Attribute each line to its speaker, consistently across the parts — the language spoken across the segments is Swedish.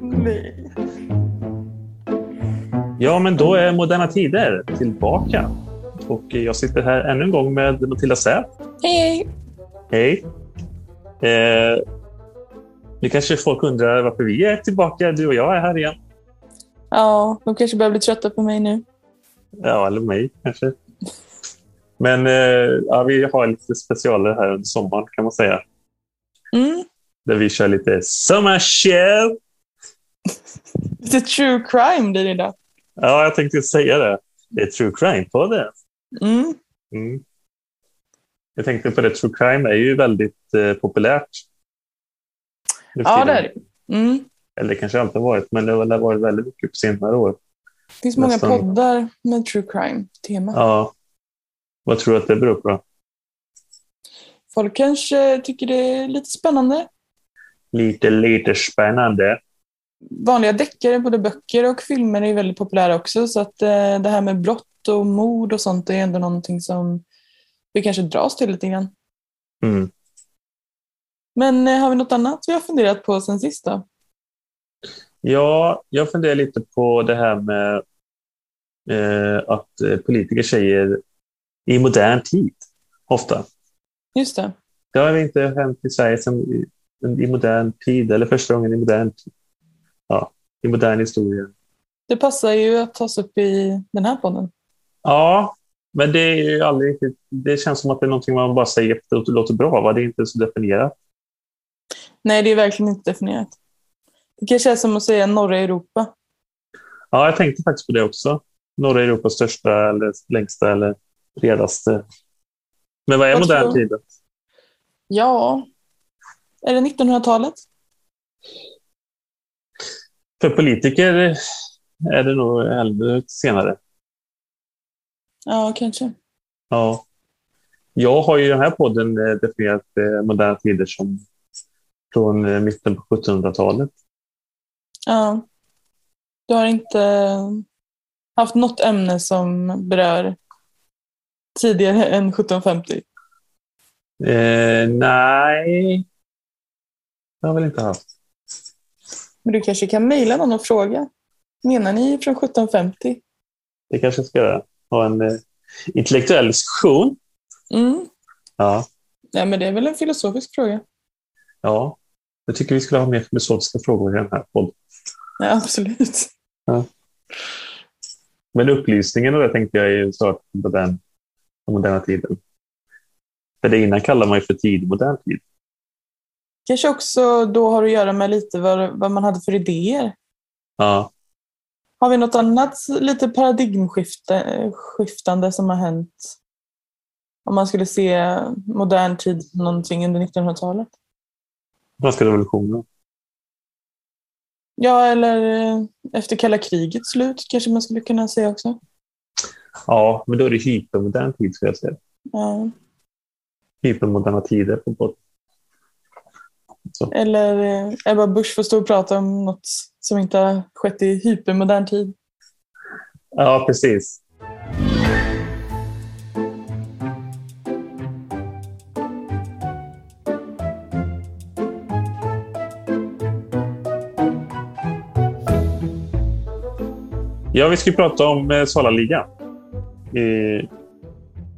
Speaker 1: Nej.
Speaker 2: Ja, men då är Moderna Tider tillbaka. Och jag sitter här ännu en gång med Matilda Säf.
Speaker 1: Hej, hej.
Speaker 2: Hej. Eh, nu kanske folk undrar varför vi är tillbaka, du och jag är här igen.
Speaker 1: Ja, de kanske börjar bli trötta på mig nu.
Speaker 2: Ja, eller mig kanske. Men eh, ja, vi har lite specialer här under sommaren kan man säga.
Speaker 1: Mm.
Speaker 2: Där vi kör lite sommarshow.
Speaker 1: Lite true crime blir det idag.
Speaker 2: Ja, jag tänkte säga det. Det är true crime-podden.
Speaker 1: Mm.
Speaker 2: Mm. Jag tänkte på det, true crime är ju väldigt eh, populärt. nu för
Speaker 1: Ja,
Speaker 2: tiden.
Speaker 1: det är det. Mm.
Speaker 2: Eller det kanske alltid har varit, men det har väl varit väldigt mycket på senare år.
Speaker 1: Det finns många
Speaker 2: Nästan.
Speaker 1: poddar med true crime-tema.
Speaker 2: Ja. Vad tror du att det beror på? då?
Speaker 1: Folk kanske tycker det är lite spännande.
Speaker 2: Lite, lite spännande.
Speaker 1: Vanliga deckare, både böcker och filmer, är ju väldigt populära också. Så att eh, det här med blott och mord och sånt är ändå någonting som vi kanske dras till lite grann.
Speaker 2: Mm.
Speaker 1: Men eh, har vi något annat vi har funderat på sen sist då?
Speaker 2: Ja, jag funderar lite på det här med eh, att eh, politiker säger i modern tid, ofta.
Speaker 1: Just det.
Speaker 2: Det har inte hänt i Sverige sen i, i modern tid, eller första gången i modern tid. Ja, i modern historia.
Speaker 1: Det passar ju att tas upp i den här podden.
Speaker 2: Ja, men det är ju aldrig riktigt... Det känns som att det är någonting man bara säger för att det låter bra, va? Det är inte så definierat.
Speaker 1: Nej, det är verkligen inte definierat. Det kanske är som att säga norra Europa.
Speaker 2: Ja, jag tänkte faktiskt på det också. Norra Europas största eller längsta eller bredaste. Men vad är
Speaker 1: Vad tror
Speaker 2: modern
Speaker 1: du?
Speaker 2: tid? då?
Speaker 1: Ja. Är det 1900-talet?
Speaker 2: För politiker är det nog hellre senare.
Speaker 1: Ja, kanske.
Speaker 2: Ja. Jag har ju i den här podden eh, definierat eh, moderna tider som från eh, mitten på 1700-talet.
Speaker 1: Ja. Du har inte haft något ämne som berör tidigare än 1750?
Speaker 2: Eh, nej, det har jag väl inte haft.
Speaker 1: Men du kanske kan mejla någon och fråga. Menar ni från 1750?
Speaker 2: Det kanske jag ska göra. Ha en eh, intellektuell diskussion.
Speaker 1: Mm.
Speaker 2: Ja.
Speaker 1: Nej, men det är väl en filosofisk fråga.
Speaker 2: ja. Jag tycker vi skulle ha mer filosofiska frågor i den här podden.
Speaker 1: Ja, absolut.
Speaker 2: Men upplysningen och det tänkte jag är ju snart modern, den moderna tiden. För det innan kallar man ju för tid, modern tid.
Speaker 1: Kanske också då har att göra med lite vad, vad man hade för idéer.
Speaker 2: Ja.
Speaker 1: Har vi något annat lite paradigmskiftande som har hänt? Om man skulle se modern tid någonting under 1900-talet?
Speaker 2: Franska revolutionen.
Speaker 1: Ja, eller eh, efter kalla krigets slut kanske man skulle kunna säga också.
Speaker 2: Ja, men då är det hypermodern tid skulle jag säga.
Speaker 1: Ja.
Speaker 2: Hypermoderna tider på båt.
Speaker 1: Eller eh, Ebba Busch får stå och prata om något som inte har skett i hypermodern tid.
Speaker 2: Ja, precis. Ja, vi ska ju prata om eh, Salaligan i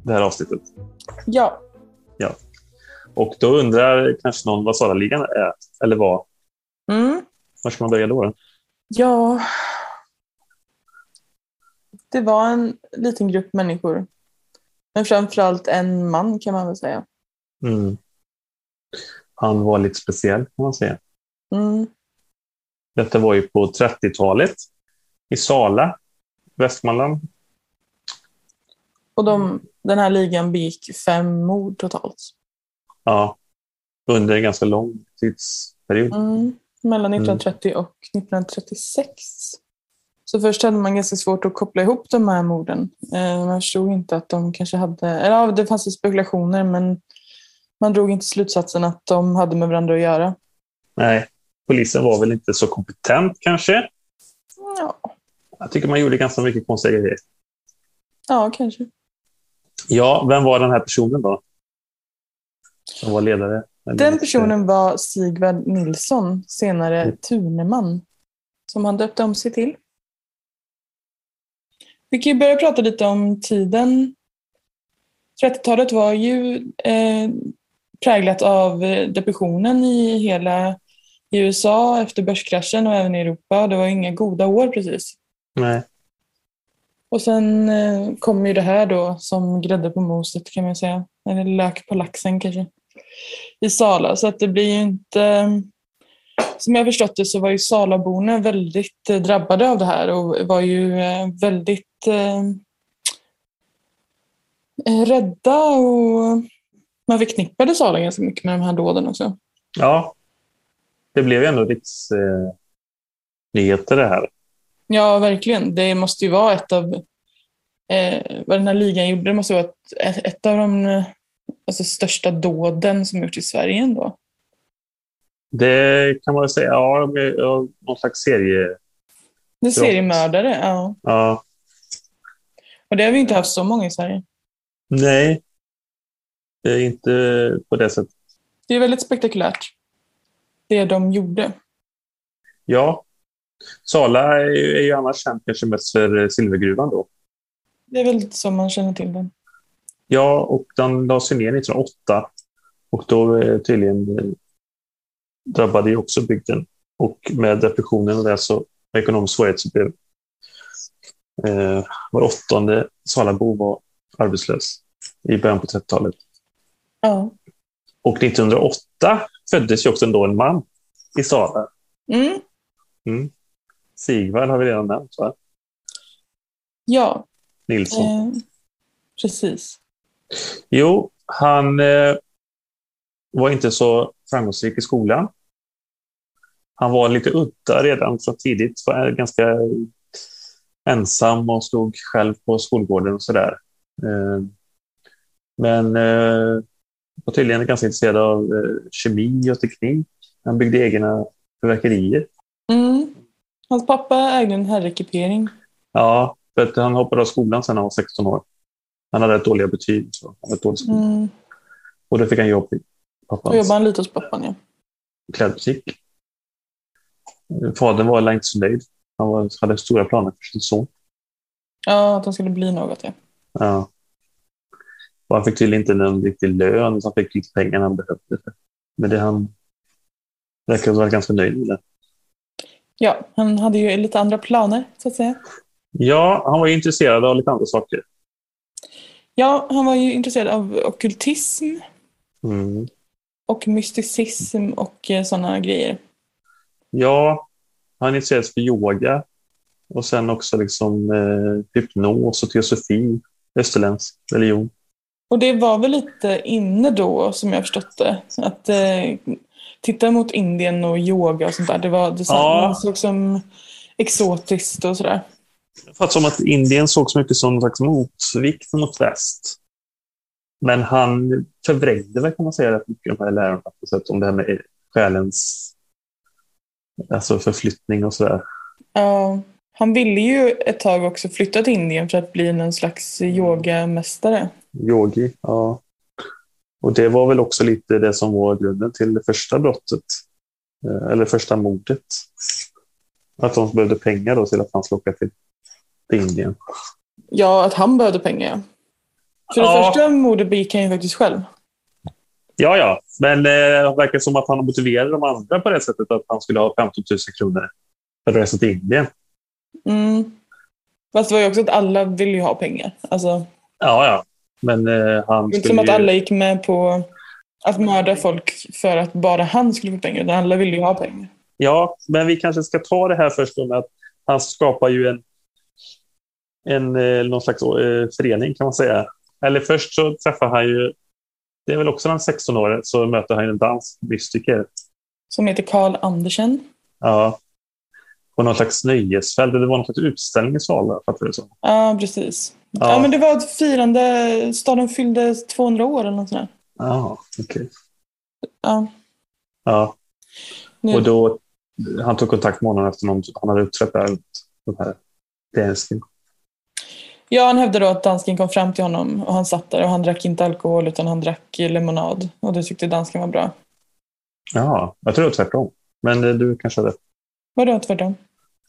Speaker 2: det här avsnittet.
Speaker 1: Ja,
Speaker 2: Och då undrar kanske någon vad Salaligan är, eller vad.
Speaker 1: mm.
Speaker 2: Var ska man börja då?
Speaker 1: ja. Det var en liten grupp människor. Men framförallt en man kan man väl säga.
Speaker 2: Mm. Han var lite speciell kan man säga.
Speaker 1: Mm.
Speaker 2: Detta var ju på 30-talet i Sala, Västmanland.
Speaker 1: Och de, den här ligan begick fem mord totalt.
Speaker 2: Ja, under en ganska lång tidsperiod.
Speaker 1: Mm. Mellan
Speaker 2: Mm.
Speaker 1: 1930 och 1936. Så först hade man ganska svårt att koppla ihop de här morden. Eh, Man förstod inte att de kanske hade... Eller ja, det fanns ju spekulationer men man drog inte slutsatsen att de hade med varandra att göra.
Speaker 2: Nej, polisen var väl inte så kompetent kanske.
Speaker 1: Ja,
Speaker 2: Jag tycker man gjorde ganska mycket konstiga grejer.
Speaker 1: ja kanske.
Speaker 2: Ja, vem var den här personen då? som var ledare. Eller
Speaker 1: Den
Speaker 2: inte.
Speaker 1: personen var Sigvard Nilsson, senare
Speaker 2: Mm.
Speaker 1: Tuneman, som han döpte om sig till. Vi kan ju börja prata lite om tiden. 30-talet var ju eh, präglat av eh, depressionen i hela i USA efter börskraschen och även i Europa. Det var inga goda år precis.
Speaker 2: Nej.
Speaker 1: Och sen eh, kom ju det här då som grädde på moset kan man säga. Eller lök på laxen kanske. I Sala. Så att det blir ju inte... eh, Som jag förstått det så var ju Salaborna väldigt eh, drabbade av det här och var ju eh, väldigt eh, eh, rädda och man förknippade Sala ganska mycket med de här dåden också.
Speaker 2: Ja, det blev ju ändå riksnyheter eh, nyheter det här.
Speaker 1: Ja, verkligen. Det måste ju vara ett av... Eh, vad den här ligan gjorde, det måste vara ett, ett av de eh, alltså, största dåden som gjorts i Sverige ändå.
Speaker 2: Det kan man väl säga, ja, de är- ja, någon slags serie.
Speaker 1: Det är seriemördare, ja.
Speaker 2: Ja.
Speaker 1: Och det har vi inte haft så många i Sverige.
Speaker 2: Nej, det är inte på det sättet.
Speaker 1: Det är väldigt spektakulärt, det de gjorde.
Speaker 2: Ja, Sala är ju, är ju annars känd kanske mest för eh, silvergruvan då.
Speaker 1: Det är väl så man känner till den.
Speaker 2: Ja, och den lades ju ner 1908 och då eh, tydligen eh, drabbade ju också bygden. Och med depressionen och det så och ekonomisk svårighet så blev eh, var åttonde Salabo var arbetslös i början på 30-talet.
Speaker 1: Ja.
Speaker 2: Och 1908 föddes ju också ändå en man i Sala.
Speaker 1: Mm.
Speaker 2: Sigvard har vi redan nämnt, va?
Speaker 1: Ja,
Speaker 2: Nilsson.
Speaker 1: eh, precis.
Speaker 2: Jo, han eh, var inte så framgångsrik i skolan. Han var lite udda redan från tidigt. Var ganska ensam och stod själv på skolgården och sådär. Eh, men eh, var tydligen ganska intresserad av eh, kemi och teknik. Han byggde egna fyrverkerier.
Speaker 1: Mm. Hans pappa ägde en herrekipering.
Speaker 2: Ja, för att han hoppade av skolan sen när han var 16 år. Han hade ett dåliga betyg. Så han var ett dåligt mm.
Speaker 1: Mm.
Speaker 2: Och då fick han jobb i
Speaker 1: Då
Speaker 2: pappans
Speaker 1: jobbade han lite hos pappan, ja.
Speaker 2: klädbutik. Fadern var inte så nöjd. Han var, hade stora planer för sin son.
Speaker 1: Ja, att han skulle bli något, ja.
Speaker 2: Ja. Och han fick tydligen inte någon riktig lön, så han fick lite pengar han behövde. Men det han verkar vara ganska nöjd med. Det.
Speaker 1: Ja, han hade ju lite andra planer, så att säga.
Speaker 2: Ja, han var ju intresserad av lite andra saker.
Speaker 1: Ja, han var ju intresserad av okkultism
Speaker 2: Mm.
Speaker 1: och mysticism och sådana grejer.
Speaker 2: Ja, han intresserades för yoga och sen också liksom, eh, hypnos och teosofi, österländsk religion.
Speaker 1: Och det var väl lite inne då, som jag förstått det, att eh, titta mot Indien och yoga och sånt där. Det var det
Speaker 2: Ja.
Speaker 1: ja. såg som exotiskt och sådär.
Speaker 2: För att som att Indien sågs mycket som någon slags motvikt mot väst. Men han förvrängde väl, kan man säga, rätt mycket de här lärorna på sätt om det här med själens alltså förflyttning och sådär.
Speaker 1: Ja, han ville ju ett tag också flytta till Indien för att bli någon slags yogamästare.
Speaker 2: Yogi, ja. Och det var väl också lite det som var grunden till det första brottet. Eh, Eller första mordet. Att de behövde pengar då till att han skulle åka till, till Indien.
Speaker 1: Ja, att han behövde pengar. ja. För det
Speaker 2: Ja.
Speaker 1: första mordet begick han ju faktiskt själv.
Speaker 2: Ja, ja, men eh, det verkar som att han motiverade de andra på det sättet att han skulle ha 15 000 kronor för att resa till Indien.
Speaker 1: Mm. Fast det var ju också att alla ville ju ha pengar. Alltså,
Speaker 2: Ja, ja, men eh, han
Speaker 1: det är inte
Speaker 2: skulle
Speaker 1: som att
Speaker 2: ju...
Speaker 1: alla gick med på att mörda folk för att bara han skulle få pengar. Utan alla ville ju ha pengar.
Speaker 2: Ja, men vi kanske ska ta det här först då med att han skapar ju en, en eh, någon slags eh, förening kan man säga. Eller först så träffar han ju, det är väl också när han är 16 år, så möter han ju en dansk mystiker.
Speaker 1: Som heter Karl Andersen.
Speaker 2: Ja. På någon slags nöjesfält, det var någon slags utställning i Sala, fattar du det som.
Speaker 1: Ja, precis. Ja.
Speaker 2: Ja.
Speaker 1: men det var ett firande. Staden fyllde 200 år eller något sånt där.
Speaker 2: Ja, okej.
Speaker 1: Ja,
Speaker 2: Ja.
Speaker 1: nu.
Speaker 2: Och då, han tog kontakt med honom efter någon, han hade uppträtt där, de här dansken.
Speaker 1: Ja, han hävdade då att dansken kom fram till honom och han satt där och han drack inte alkohol utan han drack lemonad och det tyckte dansken var bra.
Speaker 2: Ja, jag tror det var tvärtom. Men eh, du kanske hade
Speaker 1: Vadå tvärtom?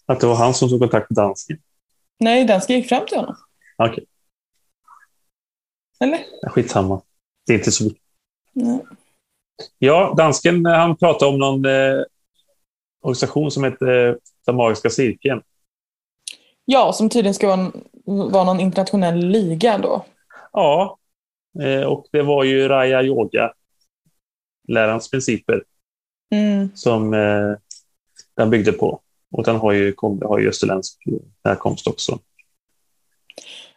Speaker 2: Att det var han som tog kontakt med dansken.
Speaker 1: Nej, dansken gick fram till honom.
Speaker 2: Okej,
Speaker 1: Eller?
Speaker 2: skitsamma. Det är inte så viktigt.
Speaker 1: Nej.
Speaker 2: Ja, dansken eh, han pratade om någon eh, organisation som heter eh, Den magiska cirkeln.
Speaker 1: Ja, som tydligen ska vara, en, vara någon internationell liga då.
Speaker 2: Ja, eh, och det var ju Raya Yoga, lärarens principer,
Speaker 1: Mm.
Speaker 2: som eh, den byggde på. Och den har ju, kom, har ju österländsk eh, härkomst också.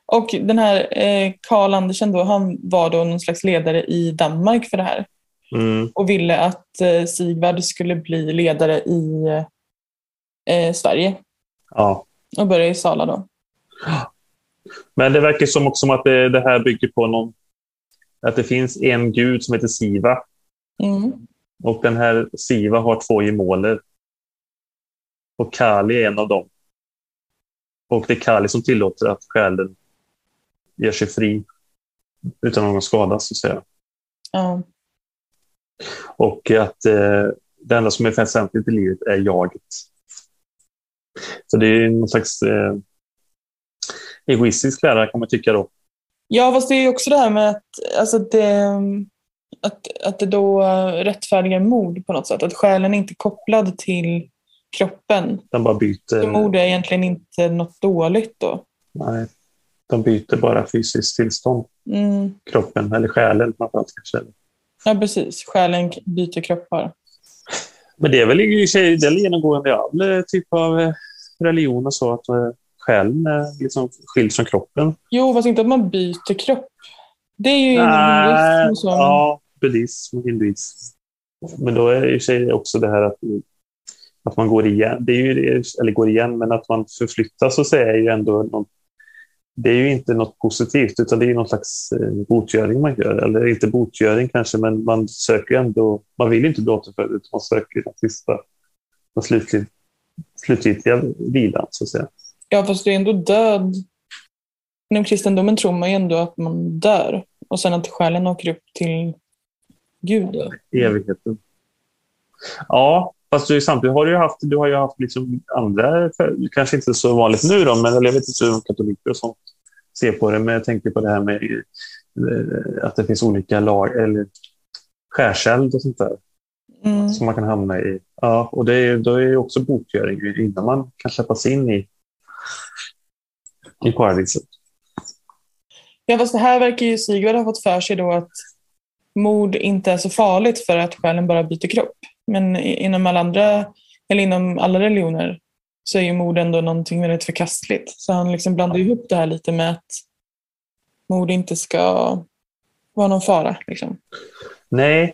Speaker 1: Och den här eh, Karl Andersen då, han var då någon slags ledare i Danmark för det här
Speaker 2: Mm.
Speaker 1: och ville att eh, Sigvard skulle bli ledare i eh, Sverige
Speaker 2: Ja.
Speaker 1: och börja i Sala då.
Speaker 2: Men det verkar som också att det, det här bygger på någon, att det finns en gud som heter Siva
Speaker 1: Mm.
Speaker 2: Och den här Siva har två gemåler. Och Kali är en av dem. Och det är Kali som tillåter att själen gör sig fri utan någon skada, så att säga.
Speaker 1: Ja.
Speaker 2: Och att eh, det enda som är väsentligt i livet är jaget. Så det är någon slags eh, egoistisk lära kan man tycka då.
Speaker 1: ja, fast det är ju också det här med att, alltså att, det, att, att det då eh, rättfärdigar mord på något sätt. Att själen är inte kopplad till kroppen.
Speaker 2: De bara byter.
Speaker 1: Så mord är egentligen inte något dåligt då.
Speaker 2: Nej, de byter bara fysiskt tillstånd.
Speaker 1: Mm.
Speaker 2: Kroppen eller själen framförallt kanske.
Speaker 1: Ja, precis. Själen byter kroppar.
Speaker 2: Men det är väl i och för sig det är genomgående i all eh, typ av eh, religion och så, att eh, själen är liksom skild från kroppen.
Speaker 1: Jo, fast inte att man byter kropp. Det är ju inom
Speaker 2: Nej,
Speaker 1: hinduism och så.
Speaker 2: Ja, buddhism och hinduism. Men då är det i och för sig också det här att, att man går igen, det är ju, eller går igen, men att man förflyttas så att säga är ju ändå någon, det är ju inte något positivt, utan det är ju någon slags eh, botgöring man gör. Eller inte botgöring kanske, men man söker ju ändå, man vill inte bli återförd, utan man söker den sista, den slutliga, slutgiltiga vilan, så att säga.
Speaker 1: Ja, fast det är ändå död. Inom kristendomen tror man ju ändå att man dör och sen att själen åker upp till Gud. då.
Speaker 2: i evigheten. Ja, fast du, samtidigt har du ju haft, du har ju haft liksom andra, kanske inte så vanligt nu då, men eller jag vet inte hur katoliker och sånt ser på det, men jag tänker på det här med eh, att det finns olika lag, eller skärseld och sånt där
Speaker 1: Mm.
Speaker 2: som man kan hamna i. Ja, och det är, då är ju också botgöring innan man kan släppas in i, i paradiset.
Speaker 1: Ja, fast det här verkar ju Sigvard ha fått för sig då att mord inte är så farligt för att själen bara byter kropp. Men i- inom alla andra, eller inom alla religioner så är ju mord ändå någonting väldigt förkastligt. Så han liksom blandar ju ihop det här lite med att mord inte ska vara någon fara. Liksom.
Speaker 2: Nej,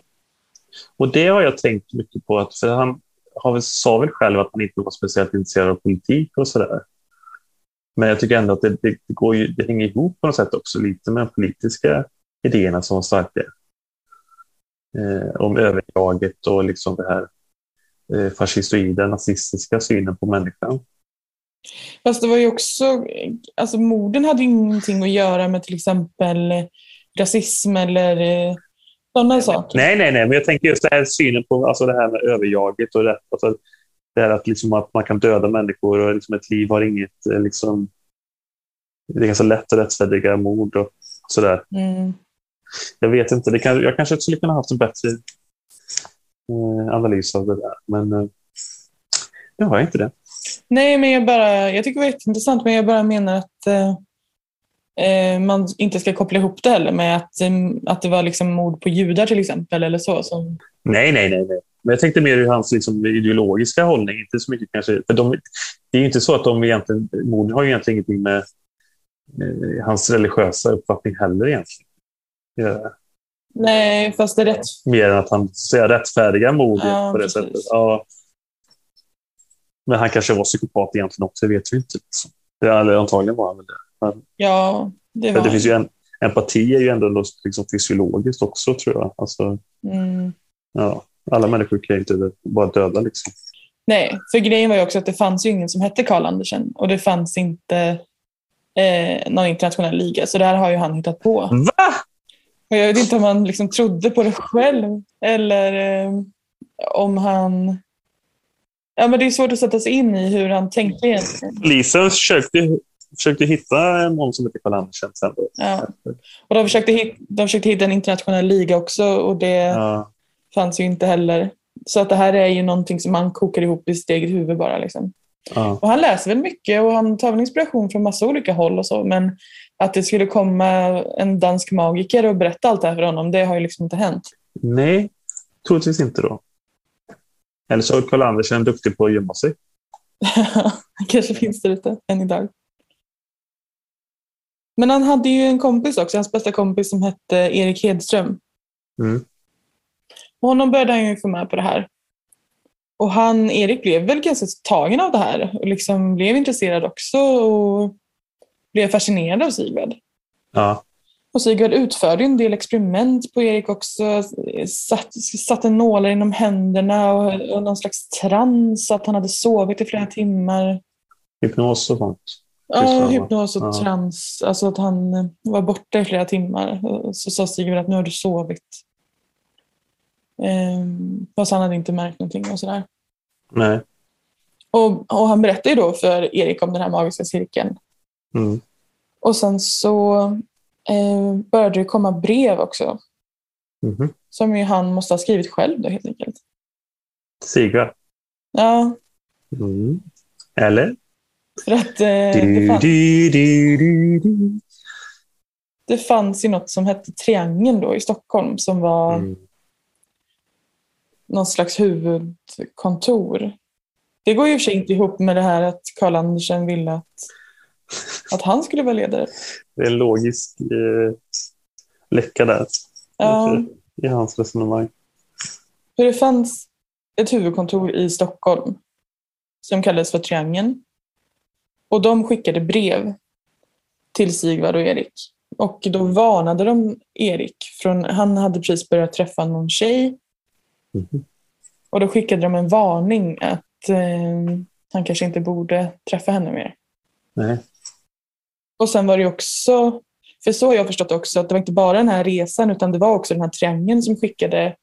Speaker 2: och det har jag tänkt mycket på. Att, för han har väl, sa väl själv att han inte var speciellt intresserad av politik och sådär. Men jag tycker ändå att det, det, det, går ju, det hänger ihop på något sätt också lite med de politiska idéerna som var starka. Eh, om överjaget och liksom det här eh, fascistoida, nazistiska synen på människan.
Speaker 1: Fast det var ju också, alltså morden hade ju ingenting att göra med till exempel eh, rasism eller eh, sådana saker.
Speaker 2: Nej, nej, nej, men jag tänker just det här synen på alltså det här med överjaget och det, alltså det här att, liksom att man kan döda människor och liksom ett liv har inget... eh, Liksom, det är ganska lätt att rättfärdiga mord och sådär.
Speaker 1: Mm.
Speaker 2: Jag vet inte, det kan, jag kanske skulle kunna haft en bättre eh, analys av det där, men eh, nu har jag inte det.
Speaker 1: Nej, men jag, bara, jag tycker det var jätteintressant, men jag bara menar att eh, eh, man inte ska koppla ihop det heller med att, eh, att det var liksom mord på judar till exempel. eller så. Som,
Speaker 2: Nej, nej, nej. nej. Men jag tänkte mer ur hans liksom, ideologiska hållning. Inte så mycket kanske. För de, det är ju inte så att de egentligen, morden har ju egentligen ingenting med eh, hans religiösa uppfattning heller egentligen. Ja,
Speaker 1: nej, fast det är rätt.
Speaker 2: mer än att han så att säga, rättfärdigar mord
Speaker 1: Ja,
Speaker 2: på det
Speaker 1: precis.
Speaker 2: sättet. Ja. Men han kanske var psykopat egentligen också, det vet vi inte. Liksom. Det, eller antagligen var han väl det.
Speaker 1: Ja, det
Speaker 2: För
Speaker 1: var...
Speaker 2: det finns ju en, empati är ju ändå något liksom, fysiologiskt också, tror jag. Alltså,
Speaker 1: mm.
Speaker 2: ja. Alla människor kan ju inte bara döda. Liksom.
Speaker 1: Nej, för grejen var ju också att det fanns ju ingen som hette Karl Andersen och det fanns inte eh, någon internationell liga. Så det här har ju han hittat på.
Speaker 2: Va?
Speaker 1: Och jag vet inte om han liksom trodde på det själv eller eh, om han... Ja, men det är svårt att sätta sig in i hur han tänkte egentligen.
Speaker 2: Polisen försökte, försökte hitta någon som hette Karl Andersen sen. Då.
Speaker 1: Ja. Och de, försökte hit, de försökte hitta en internationell liga också och det
Speaker 2: Ja.
Speaker 1: fanns ju inte heller. Så att det här är ju någonting som han kokar ihop i sitt eget huvud bara. Liksom.
Speaker 2: Ja.
Speaker 1: Och han läser väl mycket och han tar väl inspiration från massa olika håll och så. Men att det skulle komma en dansk magiker och berätta allt det här för honom, det har ju liksom inte hänt.
Speaker 2: Nej, troligtvis inte då. Eller så är Karl Andersen duktig på att gömma sig.
Speaker 1: kanske finns det lite än idag. Men han hade ju en kompis också, hans bästa kompis som hette Erik Hedström.
Speaker 2: Mm.
Speaker 1: Och honom började han ju få med på det här. Och han, Erik blev väl ganska tagen av det här och liksom blev intresserad också och blev fascinerad av Sigvard.
Speaker 2: Ja.
Speaker 1: Och Sigvard utförde ju en del experiment på Erik också. Satt, satte nålar inom händerna och, och någon slags trans, att han hade sovit i flera timmar.
Speaker 2: Hypnos och sånt. Just det,
Speaker 1: Ja,
Speaker 2: va?
Speaker 1: hypnos och
Speaker 2: Ja.
Speaker 1: trans. Alltså att han eh, var borta i flera timmar. Och Så sa Sigurd att nu har du sovit. Ehm, fast han hade inte märkt någonting och sådär.
Speaker 2: Nej.
Speaker 1: Och, och han berättade ju då för Erik om den här magiska cirkeln.
Speaker 2: Mm.
Speaker 1: Och sen så eh, började det komma brev också.
Speaker 2: Mhm.
Speaker 1: Som ju han måste ha skrivit själv då helt enkelt.
Speaker 2: Sigvard.
Speaker 1: Ja,
Speaker 2: Mm. Eller?
Speaker 1: för att eh, det,
Speaker 2: Du,
Speaker 1: fanns,
Speaker 2: du, du, du, du.
Speaker 1: det fanns ju något som hette Triangeln då i Stockholm som var
Speaker 2: Mm.
Speaker 1: någon slags huvudkontor. Det går ju i och för sig inte ihop med det här att Karl Andersen ville att, att han skulle vara ledare.
Speaker 2: Det är en logisk eh, läcka där
Speaker 1: Ja,
Speaker 2: i hans resonemang.
Speaker 1: för det fanns ett huvudkontor i Stockholm som kallades för Triangeln. Och de skickade brev till Sigvard och Erik. Och då varnade de Erik. Från, han hade precis börjat träffa någon tjej.
Speaker 2: Mhm.
Speaker 1: Och då skickade de en varning att eh, han kanske inte borde träffa henne mer.
Speaker 2: Nej.
Speaker 1: Och sen var det ju också, för så har jag förstått också, att det var inte bara den här resan utan det var också den här triangeln som skickade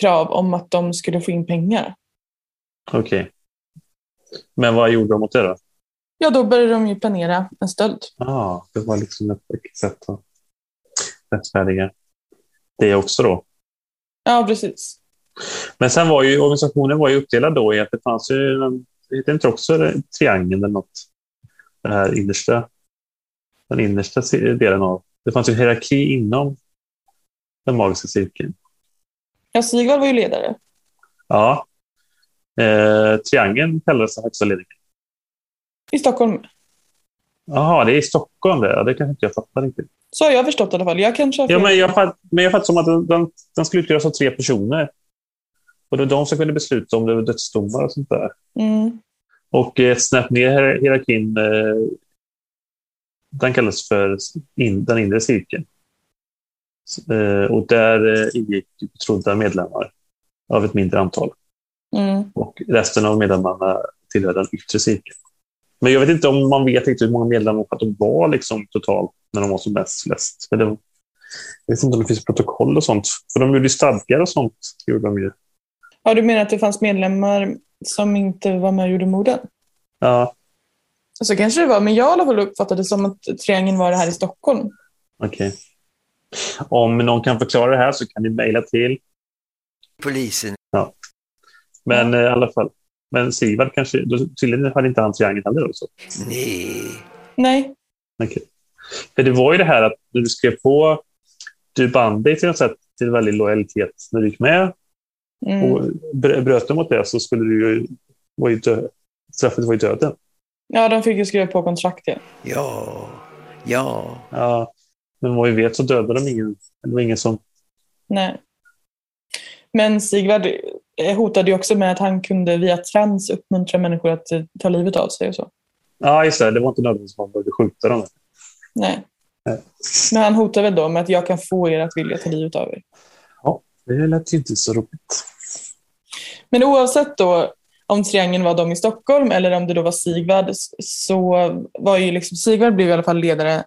Speaker 1: krav om att de skulle få in pengar.
Speaker 2: Okej. Men vad gjorde de mot det då?
Speaker 1: Ja, då började de ju planera en stöld.
Speaker 2: Ah, det var liksom ett sätt att rättfärdiga det också då.
Speaker 1: Ja, precis.
Speaker 2: Men sen var ju organisationen var ju uppdelad då i att det fanns ju, en- det hette inte också det- triangeln eller något? Den här innersta, den innersta si- delen av, det fanns ju en hierarki inom den magiska cirkeln.
Speaker 1: Ja, Sigvard var ju ledare.
Speaker 2: Ja. Eh, triangeln kallades den högsta ledningen.
Speaker 1: I Stockholm.
Speaker 2: Jaha, det är i Stockholm det. Ja, det kanske inte jag fattar riktigt.
Speaker 1: Så har jag förstått i alla fall. Jag kanske har
Speaker 2: Ja,
Speaker 1: fel.
Speaker 2: men jag fatt- men jag fattar som att den, den, den skulle utgöras av tre personer. Och det var de som kunde besluta om det var dödsdomar och sånt där.
Speaker 1: mm.
Speaker 2: Och eh, ett snäpp ner här- hierarkin, eh, den kallas för in, den inre cirkeln. S- eh, Och där eh, ingick betrodda medlemmar av ett mindre antal.
Speaker 1: Mm.
Speaker 2: Och resten av medlemmarna tillhör den yttre cirkeln. Men jag vet inte om man vet riktigt hur många medlemmar att de var liksom totalt när de var som bäst flest. För det, jag vet inte om det finns protokoll och sånt. För de gjorde ju stadgar och sånt. Gjorde de ju.
Speaker 1: ja, du menar att det fanns medlemmar som inte var med och gjorde morden?
Speaker 2: Ja,
Speaker 1: Så kanske det var, men jag i alla fall uppfattade det som att triangeln var det här i Stockholm.
Speaker 2: okej. Om någon kan förklara det här så kan ni mejla till
Speaker 3: polisen,
Speaker 2: Men eh, i alla fall. Men Sigvard kanske, då, tydligen hade inte han triangeln heller. Också.
Speaker 3: nej.
Speaker 1: Nej,
Speaker 2: Okej. För det var ju det här att när du skrev på, du band dig till något sätt till väldigt lojalitet när du gick med.
Speaker 1: mm.
Speaker 2: Och br- bröt du mot det så skulle du ju, var ju dö, straffet var ju döden.
Speaker 1: ja, de fick ju skriva på kontrakt. Ja.
Speaker 3: Ja, ja.
Speaker 2: Ja, men vad vi vet så dödade de ingen. Det var ingen som...
Speaker 1: Nej. Men Sigvard eh, hotade ju också med att han kunde via trans uppmuntra människor att eh, ta livet av sig och så.
Speaker 2: Ja, just det. Det var inte nödvändigt att man behövde skjuta dem.
Speaker 1: Nej.
Speaker 2: Nej.
Speaker 1: Men han hotade väl då med att jag kan få er att vilja ta livet av er.
Speaker 2: Det lät ju inte så roligt.
Speaker 1: Men oavsett då om triangeln var de i Stockholm eller om det då var Sigvard s- så var ju liksom Sigvard blev i alla fall ledare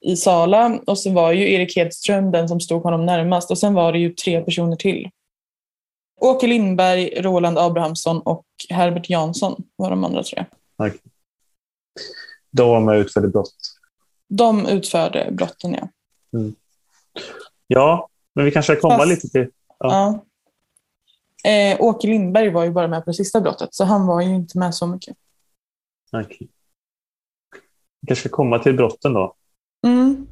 Speaker 1: i Sala och så var ju Erik Hedström den som stod honom närmast och sen var det ju tre personer till. Åke Lindberg, Roland Abrahamsson och Herbert Jansson var de andra tre.
Speaker 2: Då var man utförde brott.
Speaker 1: De utförde brotten, ja.
Speaker 2: Ja, men vi kanske kommer
Speaker 1: Fast-
Speaker 2: lite till...
Speaker 1: ja. Eh, Åke Lindberg var ju bara med på det sista brottet, så han var ju inte med så mycket.
Speaker 2: Okej. Vi kanske ska komma till brotten då.
Speaker 1: Mm.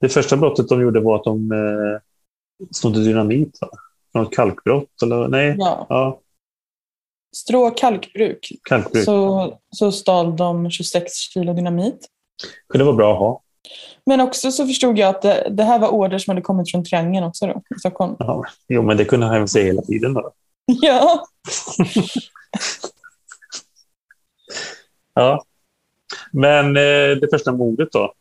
Speaker 2: Det första brottet de gjorde var att de eh, snodde dynamit. Va? Från ett kalkbrott eller? Nej.
Speaker 1: Ja.
Speaker 2: Ja,
Speaker 1: Strå kalkbruk.
Speaker 2: kalkbruk.
Speaker 1: Så, så stal de 26 kilo dynamit.
Speaker 2: Kunde vara bra att ha.
Speaker 1: Men också så förstod jag att det, det här var order som hade kommit från Triangeln också då, i Stockholm.
Speaker 2: Ja, jo, men det kunde han säga hela tiden. Då.
Speaker 1: Ja.
Speaker 2: Ja. Men eh, det första mordet då?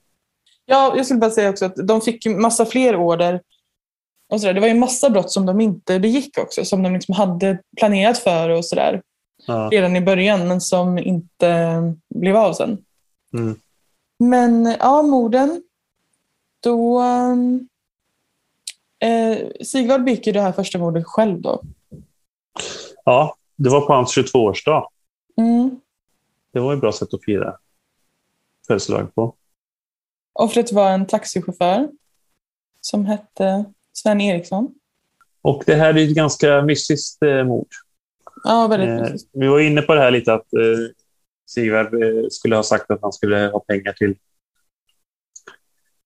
Speaker 1: ja, jag skulle bara säga också att de fick ju massa fler order. Och sådär. Det var ju massa brott som de inte begick också, som de liksom hade planerat för och sådär.
Speaker 2: Ja.
Speaker 1: redan i början men som inte blev av sen.
Speaker 2: Mm.
Speaker 1: Men ja, morden. Då... ehm, Eh, Sigvard begick ju det här första mordet själv då.
Speaker 2: ja, det var på hans 22-årsdag.
Speaker 1: Mm.
Speaker 2: Det var ett bra sätt att fira födelsedag på.
Speaker 1: Offret var en taxichaufför som hette Sven Eriksson.
Speaker 2: Och det här är ett ganska mystiskt eh, mord.
Speaker 1: Ja, väldigt
Speaker 2: Eh,
Speaker 1: precis.
Speaker 2: vi var inne på det här lite att eh, Sigvard eh, skulle ha sagt att han skulle ha pengar till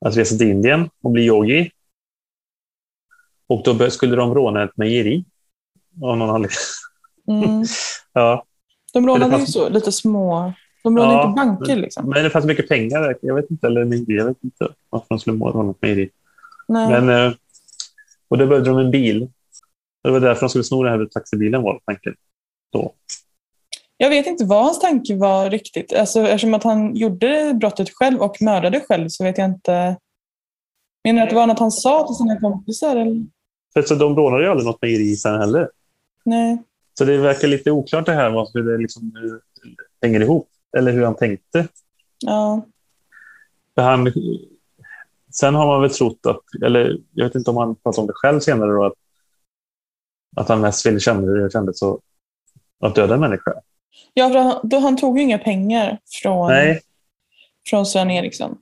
Speaker 2: att resa till Indien och bli yogi. Och då bör- skulle de råna ett mejeri. Av någon anledning.
Speaker 1: Mm.
Speaker 2: Ja,
Speaker 1: De rånade
Speaker 2: Eller
Speaker 1: ju
Speaker 2: fast-
Speaker 1: så, lite små... De rånade
Speaker 2: Ja,
Speaker 1: inte banker liksom.
Speaker 2: men det fanns mycket pengar där. Jag vet inte, eller mejeri. Jag vet inte varför de skulle råna ett mejeri.
Speaker 1: Nej.
Speaker 2: Men, eh, och då behövde de en bil. Det var därför de skulle sno den här taxibilen var tanken.
Speaker 1: Jag vet inte vad hans tanke var riktigt. Alltså, eftersom att han gjorde brottet själv och mördade själv så vet jag inte. Menar du att det var något han sa till sina kompisar? Eller?
Speaker 2: För så de rånade ju aldrig något mejeri sen heller.
Speaker 1: Nej.
Speaker 2: Så det verkar lite oklart det här vad- hur det liksom hur det hänger ihop. Eller hur han tänkte.
Speaker 1: Ja.
Speaker 2: För han, sen har man väl trott att, eller jag vet inte om han pratade om det själv senare, då, att, att han mest ville känna hur det kändes så, att döda en människa.
Speaker 1: ja för han, då, han tog ju inga pengar från,
Speaker 2: Nej,
Speaker 1: från Sven Eriksson.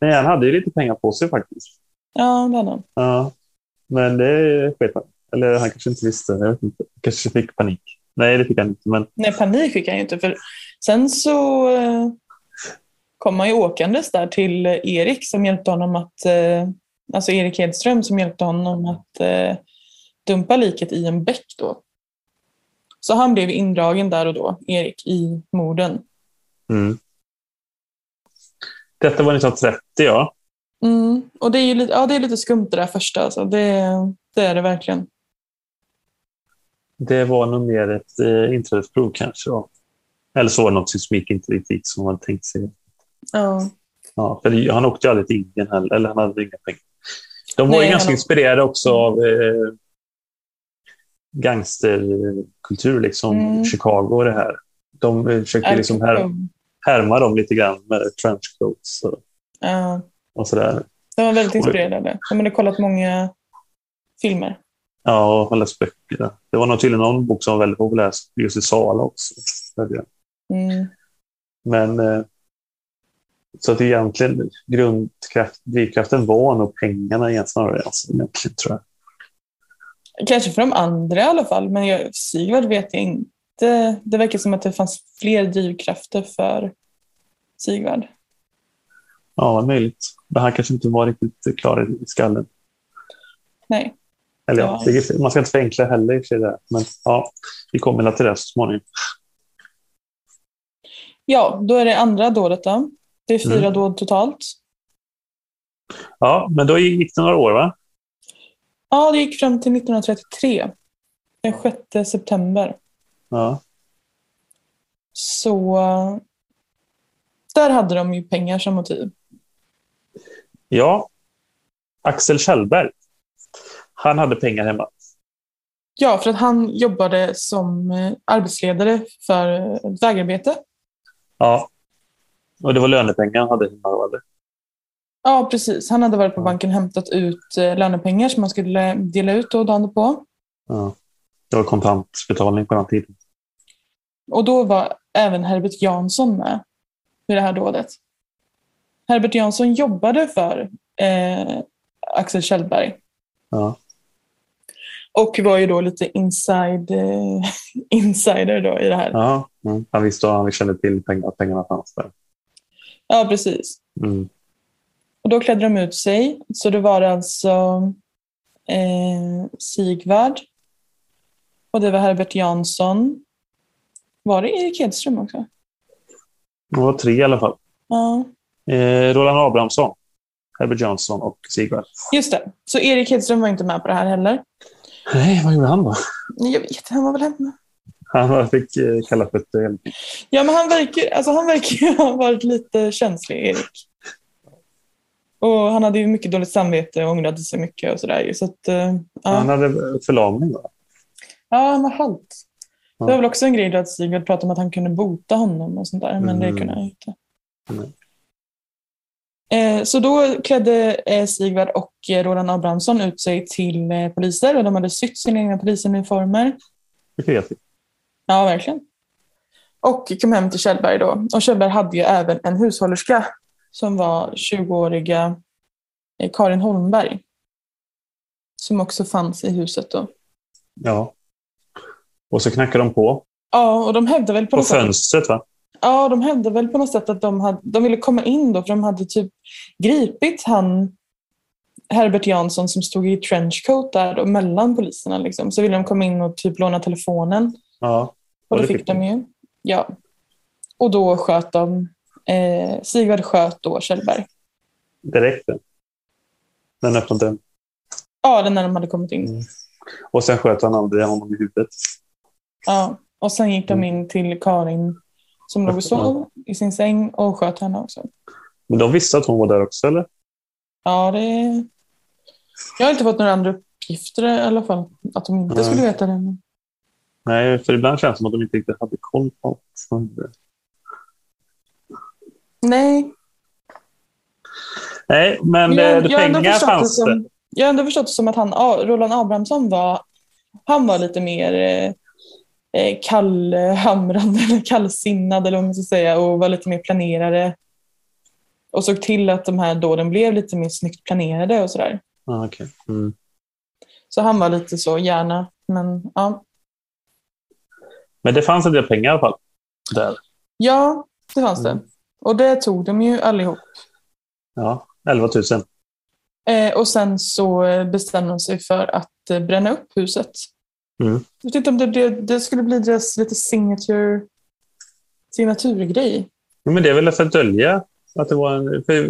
Speaker 2: nej, han hade ju lite pengar på sig faktiskt.
Speaker 1: Ja, det hade han.
Speaker 2: Ja, men det sket han Eller han kanske inte visste. Jag vet inte. kanske fick panik. Nej, det fick han inte. Men
Speaker 1: Nej, panik fick han ju inte. För sen så eh, kom han ju åkandes där till eh, Erik som hjälpte honom att... Eh, alltså Erik Hedström som hjälpte honom att eh, dumpa liket i en bäck då. Så han blev indragen där och då, Erik, i morden.
Speaker 2: Mm. Detta var 1930, ja.
Speaker 1: Mm. Och det är ju lite, ja, det är lite skumt det där första. Alltså. Det, det är det verkligen.
Speaker 2: Det var nog mer ett eh, inträdesprov kanske. Då. Eller så var det något som gick inte riktigt gick som man tänkt sig.
Speaker 1: Ja.
Speaker 2: Ja, för det- han åkte ju aldrig till Indien heller, eller han hade inga pengar. De var
Speaker 1: Nej,
Speaker 2: ju ganska
Speaker 1: han-
Speaker 2: inspirerade också av eh, gangsterkultur, liksom
Speaker 1: Mm.
Speaker 2: Chicago och det här. De eh, försökte liksom här, härma dem lite grann med trenchcoats och,
Speaker 1: Ja.
Speaker 2: och sådär.
Speaker 1: De var väldigt inspirerade av det. De hade kollat många filmer.
Speaker 2: Ja, och läst böcker. Det var nog tydligen någon bok som var väldigt populär just i Sala också. hörde jag.
Speaker 1: Mm.
Speaker 2: Men eh, så att egentligen grundkraft, drivkraften var nog pengarna egentligen snarare. Alltså, egentligen, tror jag.
Speaker 1: Kanske för de andra i alla fall, men jag, Sigvard vet jag inte. Det verkar som att det fanns fler drivkrafter för Sigvard.
Speaker 2: Ja, möjligt. Men han kanske inte var riktigt klar i- i skallen.
Speaker 1: Nej.
Speaker 2: Eller ja,
Speaker 1: Ja.
Speaker 2: det, man ska inte förenkla heller i och för sig där. Men ja, vi kommer väl till det så småningom.
Speaker 1: Ja, då är det andra dådet då. Det är fyra
Speaker 2: Mm.
Speaker 1: dåd totalt.
Speaker 2: Ja, men då gick det några år, va?
Speaker 1: Ja, det gick fram till 1933. Den 6 september.
Speaker 2: Ja.
Speaker 1: Så... där hade de ju pengar som motiv.
Speaker 2: Ja. Axel Kjellberg. Han hade pengar hemma.
Speaker 1: Ja, för att han jobbade som eh, arbetsledare för eh, vägarbete.
Speaker 2: Ja. Och det var lönepengar han hade hemma. då, eller?
Speaker 1: Ja, precis. Han hade varit på banken och hämtat ut eh, lönepengar som han skulle dela ut då dagen på.
Speaker 2: Ja. Det var kontantbetalning på den tiden.
Speaker 1: Och då var även Herbert Jansson med i det här dådet. Herbert Jansson jobbade för eh, Axel Kjellberg
Speaker 2: Ja.
Speaker 1: och var ju då lite inside, eh, insider då i det här. Ja,
Speaker 2: Ja. Mm. Han visste och han kände till pengar, att pengarna fanns där.
Speaker 1: precis.
Speaker 2: Mm.
Speaker 1: Och då klädde de ut sig. Så det var alltså eh, Sigvard och det var Herbert Jansson. Var det Erik Hedström också?
Speaker 2: Det var tre i alla fall.
Speaker 1: Ja,
Speaker 2: Eh, Roland Abrahamsson, Herbert Jansson och Sigvard.
Speaker 1: just det. Så Erik Hedström var inte med på det här heller.
Speaker 2: Nej, vad gjorde han då?
Speaker 1: Nej, Jag vet, han var väl hemma.
Speaker 2: Han fick eh, kalla för ett... eh,
Speaker 1: Ja, men han verkar, alltså han verkar ju ha varit lite känslig, Erik. Och han hade ju mycket dåligt samvete och ångrade sig mycket och sådär. ju. Så att, eh, ja.
Speaker 2: Han hade eh, förlamning. Va?
Speaker 1: ja, han var halt.
Speaker 2: Ja.
Speaker 1: Det var väl också en grej då att Sigurd pratade om att han kunde bota honom och sånt där, men
Speaker 2: Mm.
Speaker 1: det kunde han ju inte.
Speaker 2: Nej.
Speaker 1: Eh, Så då klädde eh, Sigvard och eh, Roland Abrahamsson ut sig till eh, poliser och de hade sytt sina egna polisuniformer.
Speaker 2: Det vet vi.
Speaker 1: Ja, verkligen. Och kom hem till Kjellberg då. Och Kjellberg hade ju även en hushållerska som var 20-åriga eh, Karin Holmberg. Som också fanns i huset då.
Speaker 2: Ja. Och så knackade de på.
Speaker 1: Ja, och de hävdade väl på
Speaker 2: På
Speaker 1: något sätt,
Speaker 2: fönstret, va?
Speaker 1: ja, de hävdade väl på något sätt att de, hade, de ville komma in då för de hade typ gripit han Herbert Jansson som stod i trenchcoat där då, mellan poliserna. Liksom. Så ville de komma in och typ låna telefonen.
Speaker 2: Ja.
Speaker 1: Och det fick de ju. Ja. Och då sköt de. Eh, Sigvard sköt då Kjellberg.
Speaker 2: Direkt. Den öppnade den.
Speaker 1: Ja, den när de hade kommit in.
Speaker 2: Och sen sköt han aldrig honom i huvudet.
Speaker 1: Ja. Och sen gick de in till Karin som låg och sov i sin säng och sköt henne också.
Speaker 2: Men de visste att hon var där också, eller?
Speaker 1: Ja, det... Jag har inte fått några andra uppgifter i alla fall. Att de inte
Speaker 2: Nej.
Speaker 1: skulle veta det. men-
Speaker 2: Nej, för ibland känns det som att de inte riktigt hade koll på allt som hände.
Speaker 1: Nej.
Speaker 2: Nej, men eh,
Speaker 1: har ändå
Speaker 2: pengar
Speaker 1: förstått
Speaker 2: fanns det.
Speaker 1: som, Jag har ändå förstått det som att han, ja, Roland Abrahamsson var, han var lite mer eh, eh, kallhamrande eller kallsinnad eller vad man ska säga och var lite mer planerare. Och såg till att de här dåden blev lite mer snyggt planerade och sådär.
Speaker 2: Ah, okej. mm.
Speaker 1: Så han var lite så, gärna. Men ja.
Speaker 2: Men det fanns en del pengar i alla fall. Där.
Speaker 1: ja, det fanns det.
Speaker 2: Mm.
Speaker 1: Och det tog de ju allihop.
Speaker 2: Ja, 11 000.
Speaker 1: Eh, och sen så eh, bestämde de sig för att eh, bränna upp huset.
Speaker 2: Mm.
Speaker 1: Jag vet inte om det, det, det skulle bli deras lite signature, signaturgrej.
Speaker 2: Jo, Men det är väl för att dölja att det var en... För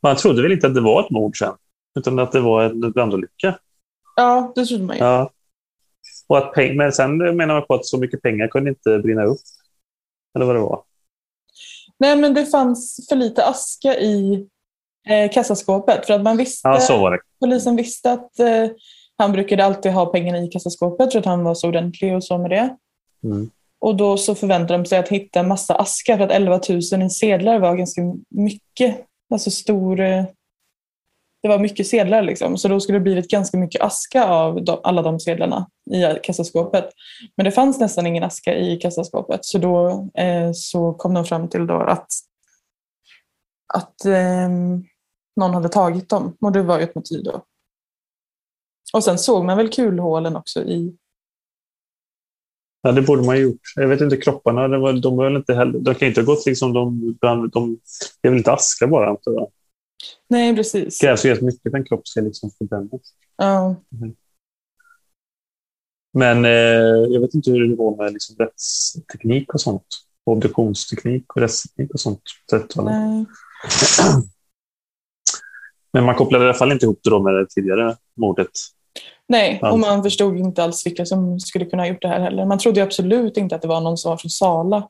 Speaker 2: man trodde väl inte att det var ett mord sen, utan att det var en brandolycka.
Speaker 1: Ja, det trodde man ju.
Speaker 2: Ja. Och att peng, men sen menar man på att så mycket pengar kunde inte brinna upp. Eller vad det var.
Speaker 1: Nej, men det fanns för lite aska i eh, kassaskåpet. För att man visste,
Speaker 2: Ja, så var det.
Speaker 1: polisen visste att eh, han brukade alltid ha pengarna i kassaskåpet för att han var så ordentlig och så med det.
Speaker 2: Mm.
Speaker 1: Och då så förväntade de sig att hitta en massa aska för att 11 000 i sedlar var ganska mycket. Alltså stor... eh, Det var mycket sedlar liksom. Så då skulle det blivit ganska mycket aska av de, alla de sedlarna i kassaskåpet. Men det fanns nästan ingen aska i kassaskåpet. Så då eh, så kom de fram till då att, att ehm, någon hade tagit dem. Och det var ju ett motiv då. Och sen såg man väl kulhålen också i...
Speaker 2: Ja, det borde man ju gjort. Jag vet inte, kropparna, det var, de, var väl inte heller, de kan ju inte ha gått liksom... De, bland, de, det är väl inte aska bara, antar jag.
Speaker 1: Nej, precis.
Speaker 2: Det krävs ju rätt mycket för en kropp ska liksom förbrännas.
Speaker 1: Ja.
Speaker 2: Men eh, jag vet inte hur det var med liksom rättsteknik och sånt. Obduktionsteknik och rättsteknik och sånt. på 30-talet.
Speaker 1: nej.
Speaker 2: Men man kopplade i alla fall inte ihop det då med det tidigare mordet.
Speaker 1: Nej, och
Speaker 2: Alltså.
Speaker 1: man förstod inte alls vilka som skulle kunna ha gjort det här heller. Man trodde ju absolut inte att det var någon som var från Sala.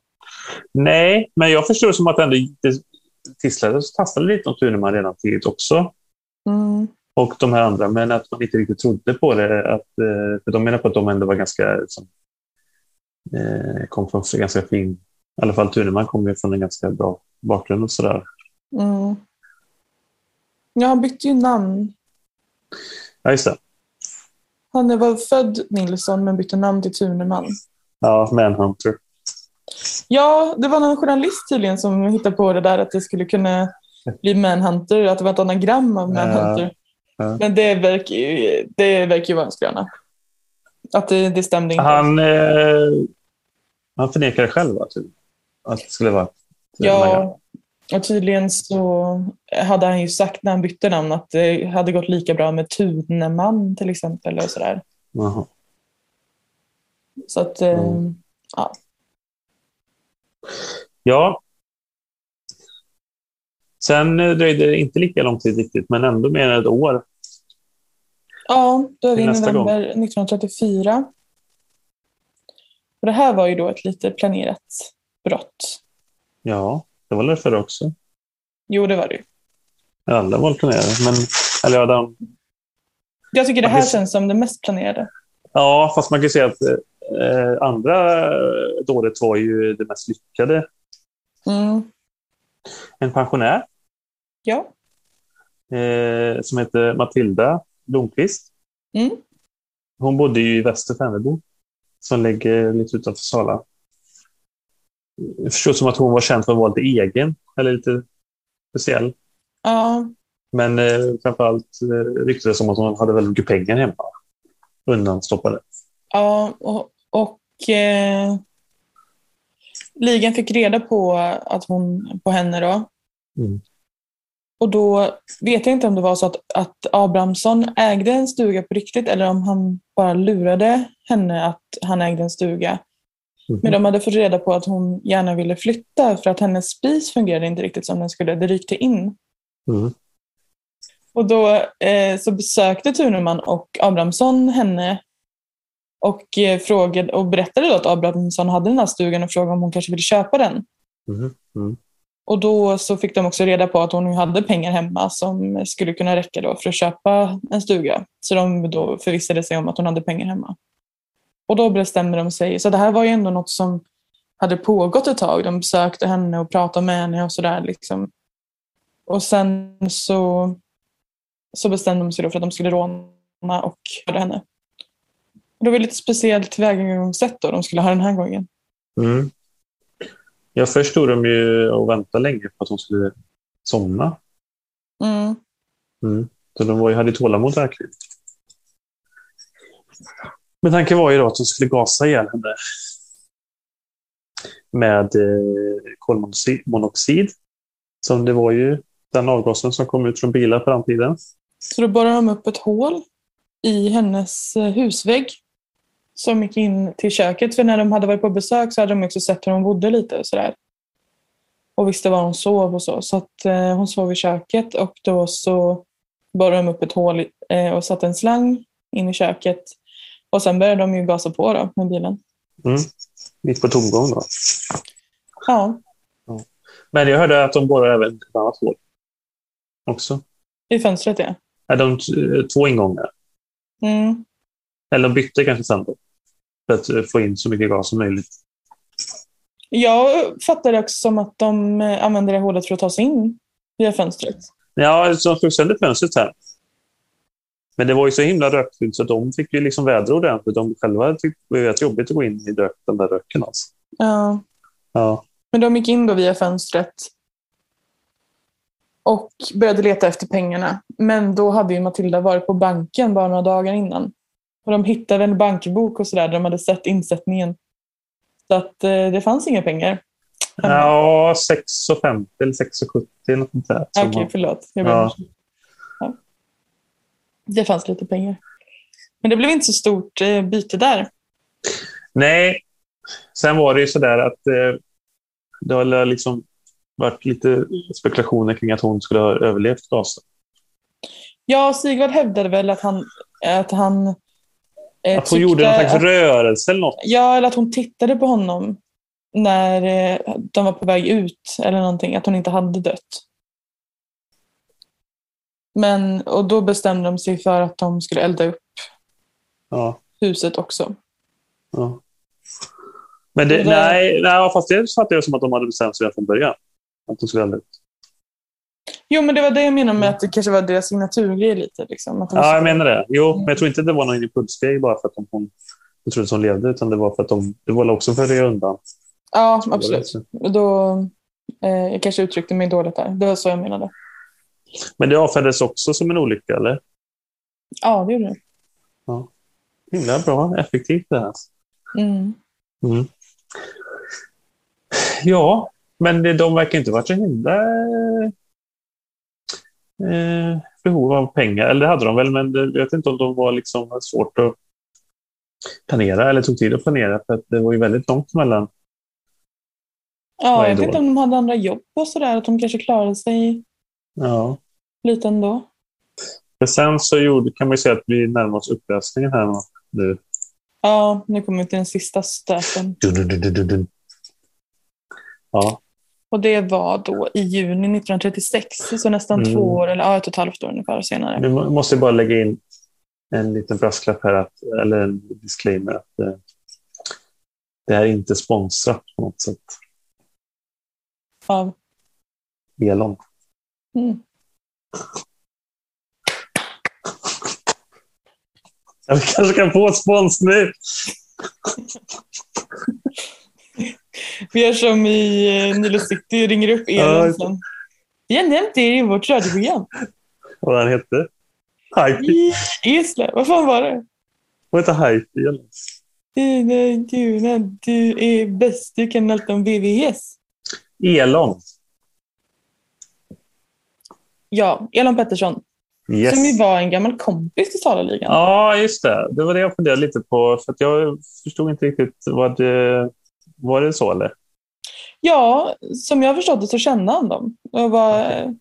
Speaker 2: Nej, men jag förstår det som att ändå, det, tisslade så tasslade lite om Thuneman redan tidigt också.
Speaker 1: Mm.
Speaker 2: Och de här andra, men att man inte riktigt trodde på det. Att, eh, för de menar på att de ändå var ganska... Liksom, eh, kom från en ganska fin... I alla fall Thuneman kom ju från en ganska bra bakgrund och sådär.
Speaker 1: Mm. Ja, han bytte ju namn.
Speaker 2: Ja, just det.
Speaker 1: Han var född Nilsson men bytte namn till Thuneman.
Speaker 2: Ja, Manhunter.
Speaker 1: Ja, det var någon journalist tydligen som hittade på det där att det skulle kunna bli Manhunter, att det var ett anagram av Manhunter.
Speaker 2: ja.
Speaker 1: Men det verkar ju, det verkar ju vara en skröna. Att det, det stämde inte.
Speaker 2: Han, eh, han förnekade själv va, typ, att det skulle vara eh, Thuneman.
Speaker 1: ja, och tydligen så hade han ju sagt när han bytte namn att det hade gått lika bra med Tuneman till exempel. Och sådär.
Speaker 2: Jaha.
Speaker 1: Så att, eh,
Speaker 2: Mm. Ja. Sen eh, dröjde det inte lika lång tid riktigt, men ändå mer än ett år.
Speaker 1: Ja, då är vi i
Speaker 2: Till nästa
Speaker 1: november 1934. Och det här var ju då ett lite planerat brott.
Speaker 2: Ja, det var väl förr också.
Speaker 1: Jo, det var det ju.
Speaker 2: Alla var planerade, men... Eller ja, de,
Speaker 1: Jag tycker det här
Speaker 2: Ja, det-
Speaker 1: känns som det mest planerade.
Speaker 2: ja, fast man kan ju säga att eh, andra eh, dådet var ju det mest lyckade.
Speaker 1: Mm.
Speaker 2: En pensionär
Speaker 1: Ja.
Speaker 2: eh, som hette Matilda Blomqvist.
Speaker 1: Mm.
Speaker 2: Hon bodde ju i Väster Färnebo, som ligger lite utanför Sala. Jag förstår som att hon var känd för att vara lite egen, eller lite speciell.
Speaker 1: ja.
Speaker 2: Men eh, framförallt eh, ryktades det om att hon hade väldigt mycket pengar hemma. Undanstoppade.
Speaker 1: Ja, och, och eh, ligan fick reda på, att hon, på henne. Då.
Speaker 2: Mm.
Speaker 1: Och då vet jag inte om det var så att, att Abrahamsson ägde en stuga på riktigt eller om han bara lurade henne att han ägde en stuga.
Speaker 2: Mhm.
Speaker 1: Men de hade fått reda på att hon gärna ville flytta för att hennes spis fungerade inte riktigt som den skulle. Det rykte in.
Speaker 2: Mm.
Speaker 1: Och då eh, så besökte Thuneman och Abrahamsson henne och, eh, frågade, och berättade då att Abrahamsson hade den här stugan och frågade om hon kanske ville köpa den.
Speaker 2: Mhm.
Speaker 1: Och då så fick de också reda på att hon ju hade pengar hemma som skulle kunna räcka då för att köpa en stuga. Så de då förvissade sig om att hon hade pengar hemma. Och då bestämde de sig. Så det här var ju ändå något som hade pågått ett tag. De besökte henne och pratade med henne och sådär. Liksom. Och sen så, så bestämde de sig då för att de skulle råna och mörda henne. Och det var lite speciellt tillvägagångssätt då de skulle ha den här gången.
Speaker 2: Mm. Ja, först stod de ju och väntade länge på att hon skulle somna.
Speaker 1: Mm.
Speaker 2: Så de var ju, hade ju tålamod verkligen. Men tanken var ju då att de skulle gasa ihjäl henne med eh, kolmonoxid. monoxid. Som det var ju den avgasen som kom ut från bilar på den tiden.
Speaker 1: Så då borrade de upp ett hål i hennes eh, husvägg som gick in till köket. För när de hade varit på besök så hade de också sett hur hon bodde lite och sådär. Och visste var hon sov och så. Så att eh, hon sov i köket och då så borrade de upp ett hål i- eh, och satte en slang in i köket. Och sen började de ju gasa på då med bilen.
Speaker 2: Mitt på tomgång då.
Speaker 1: Ja,
Speaker 2: Men jag hörde att de borrar även ett annat hål. Också.
Speaker 1: i fönstret ja.
Speaker 2: Är de t- två ingångar?
Speaker 1: Mm.
Speaker 2: Eller de bytte kanske sen då? För att eh, få in så mycket gas som möjligt.
Speaker 1: Jag fattar det också som att de eh, använde det hålet för att ta sig in via fönstret.
Speaker 2: Ja, så de slog sönder fönstret här. Men det var ju så himla rökfyllt så de fick ju liksom vädra ordentligt. De själva tyckte det var rätt jobbigt att gå in i rök, den där röken. Alltså.
Speaker 1: Ja.
Speaker 2: Ja.
Speaker 1: Men de gick in då via fönstret och började leta efter pengarna. Men då hade ju Matilda varit på banken bara några dagar innan. Och de hittade en bankbok och sådär där de hade sett insättningen. Så att eh, det fanns inga pengar.
Speaker 2: ja, 6,50 eller 6,70 eller något sånt där.
Speaker 1: Okej,
Speaker 2: som man-
Speaker 1: förlåt. Jag ber om
Speaker 2: Ja.
Speaker 1: ursäkt. ja. Det fanns lite pengar. Men det blev inte så stort eh, byte där.
Speaker 2: Nej, sen var det ju sådär att eh, det har liksom varit lite spekulationer kring att hon skulle ha överlevt gasen.
Speaker 1: Ja, Sigvard hävdade väl att han, att han eh,
Speaker 2: Att hon gjorde någon slags
Speaker 1: att,
Speaker 2: rörelse eller något.
Speaker 1: Ja, eller att hon tittade på honom när eh, de var på väg ut eller någonting, att hon inte hade dött. Men, och då bestämde de sig för att de skulle elda upp
Speaker 2: Ja,
Speaker 1: huset också.
Speaker 2: ja. Men det,
Speaker 1: Det-
Speaker 2: nej, nej, fast det fattar jag som att de hade bestämt sig redan från början. Att de skulle elda upp.
Speaker 1: Jo, men det var det jag menade med att det kanske var deras signaturgrej lite. Liksom, att de
Speaker 2: Ja, jag menar det. Jo, men jag tror inte det var någon impulsgrej bara för att de, hon, hon trodde att hon levde, utan det var för att de, det var också för att röja undan.
Speaker 1: ja absolut. Och Då, eh, jag kanske uttryckte mig dåligt där. Det var så jag menade.
Speaker 2: Men det avfärdades också som en olycka, eller?
Speaker 1: Ja, det gjorde det.
Speaker 2: Himla bra, effektivt det här.
Speaker 1: Mm.
Speaker 2: Mm. Ja, men det- de verkar inte varit så himla eh, behov av pengar. Eller det hade de väl, men det- jag vet inte om de var liksom svårt att planera eller tog tid att planera. För att det var ju väldigt långt mellan.
Speaker 1: Ja,
Speaker 2: Vad är
Speaker 1: jag vet
Speaker 2: då?
Speaker 1: inte om de hade andra jobb och sådär. Att de kanske klarade sig
Speaker 2: Ja.
Speaker 1: lite ändå.
Speaker 2: Men sen så gjorde, kan man ju säga att vi närmar oss upplösningen här nu.
Speaker 1: Ja, nu kommer vi till den sista stöten.
Speaker 2: Dun, dun, dun, dun, dun, dun. Ja,
Speaker 1: Och det var då i juni 1936, så nästan
Speaker 2: Mm.
Speaker 1: två år, eller ja, ett och ett halvt år ungefär senare.
Speaker 2: Nu må- måste jag bara lägga in en liten brasklapp här, att, eller en disclaimer. Att, eh, det här är inte sponsrat på något sätt.
Speaker 1: Ja.
Speaker 2: Elon.
Speaker 1: Mm.
Speaker 2: Ja, Vi kanske kan få spons nu.
Speaker 1: Vi gör som i eh, Nilo City, ringer upp
Speaker 2: Ja.
Speaker 1: Elon sen. Vi har nämnt er i vårt radioprogram.
Speaker 2: Vad han hette? Hype.
Speaker 1: I Eslöv. Vad fan var det?
Speaker 2: Vad heter Hype? Elon?
Speaker 1: Dina Guna, du är bäst. Du kan allt om VVS.
Speaker 2: Elon.
Speaker 1: Ja, Elon Pettersson.
Speaker 2: Yes.
Speaker 1: Som ju var en gammal kompis till Salaligan.
Speaker 2: Ja, just det. Det var det jag funderade lite på. För att jag förstod inte riktigt. Vad det, var det så eller?
Speaker 1: Ja, som jag förstod det så kände han dem. Och var
Speaker 2: Okej.
Speaker 1: eh,
Speaker 2: Jag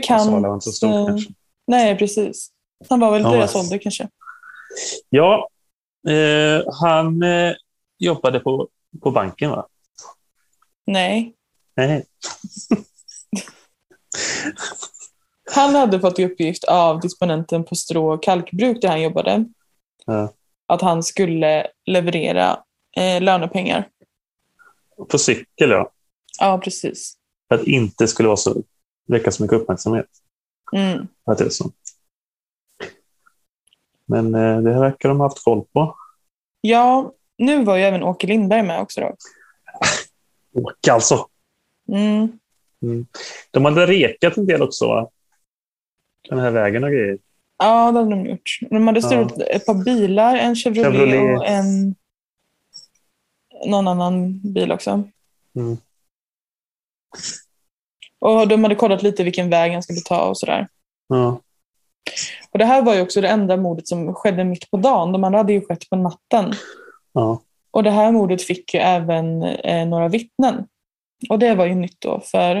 Speaker 1: bekant.
Speaker 2: sa det var inte så
Speaker 1: eh,
Speaker 2: stort kanske.
Speaker 1: Nej, precis. Han var väl
Speaker 2: Ja,
Speaker 1: deras
Speaker 2: men-
Speaker 1: ålder kanske.
Speaker 2: Ja, eh, han eh, jobbade på, på banken va?
Speaker 1: Nej,
Speaker 2: Nej.
Speaker 1: Han hade fått i uppgift av disponenten på Strå kalkbruk där han jobbade
Speaker 2: Ja.
Speaker 1: att han skulle leverera eh, lönepengar.
Speaker 2: På cykel ja.
Speaker 1: Ja, precis.
Speaker 2: För att inte skulle vara så, väcka så mycket uppmärksamhet.
Speaker 1: Mm.
Speaker 2: Att det är så. Men eh, det här verkar de ha haft koll på.
Speaker 1: Ja, nu var ju även Åke Lindberg med också då.
Speaker 2: Åka alltså.
Speaker 1: Mm.
Speaker 2: De hade rekat en del också. Va? Den här vägen och grejer.
Speaker 1: Ja, det hade de gjort. De hade stulit ett par bilar, en Chevrolet,
Speaker 2: Chevrolet.
Speaker 1: och en någon annan bil också.
Speaker 2: Mm.
Speaker 1: Och de hade kollat lite vilken väg han skulle ta och sådär.
Speaker 2: Ja.
Speaker 1: Och det här var ju också det enda mordet som skedde mitt på dagen. De andra hade ju skett på natten.
Speaker 2: ja.
Speaker 1: Och det här mordet fick ju även eh, några vittnen. Och det var ju nytt då, för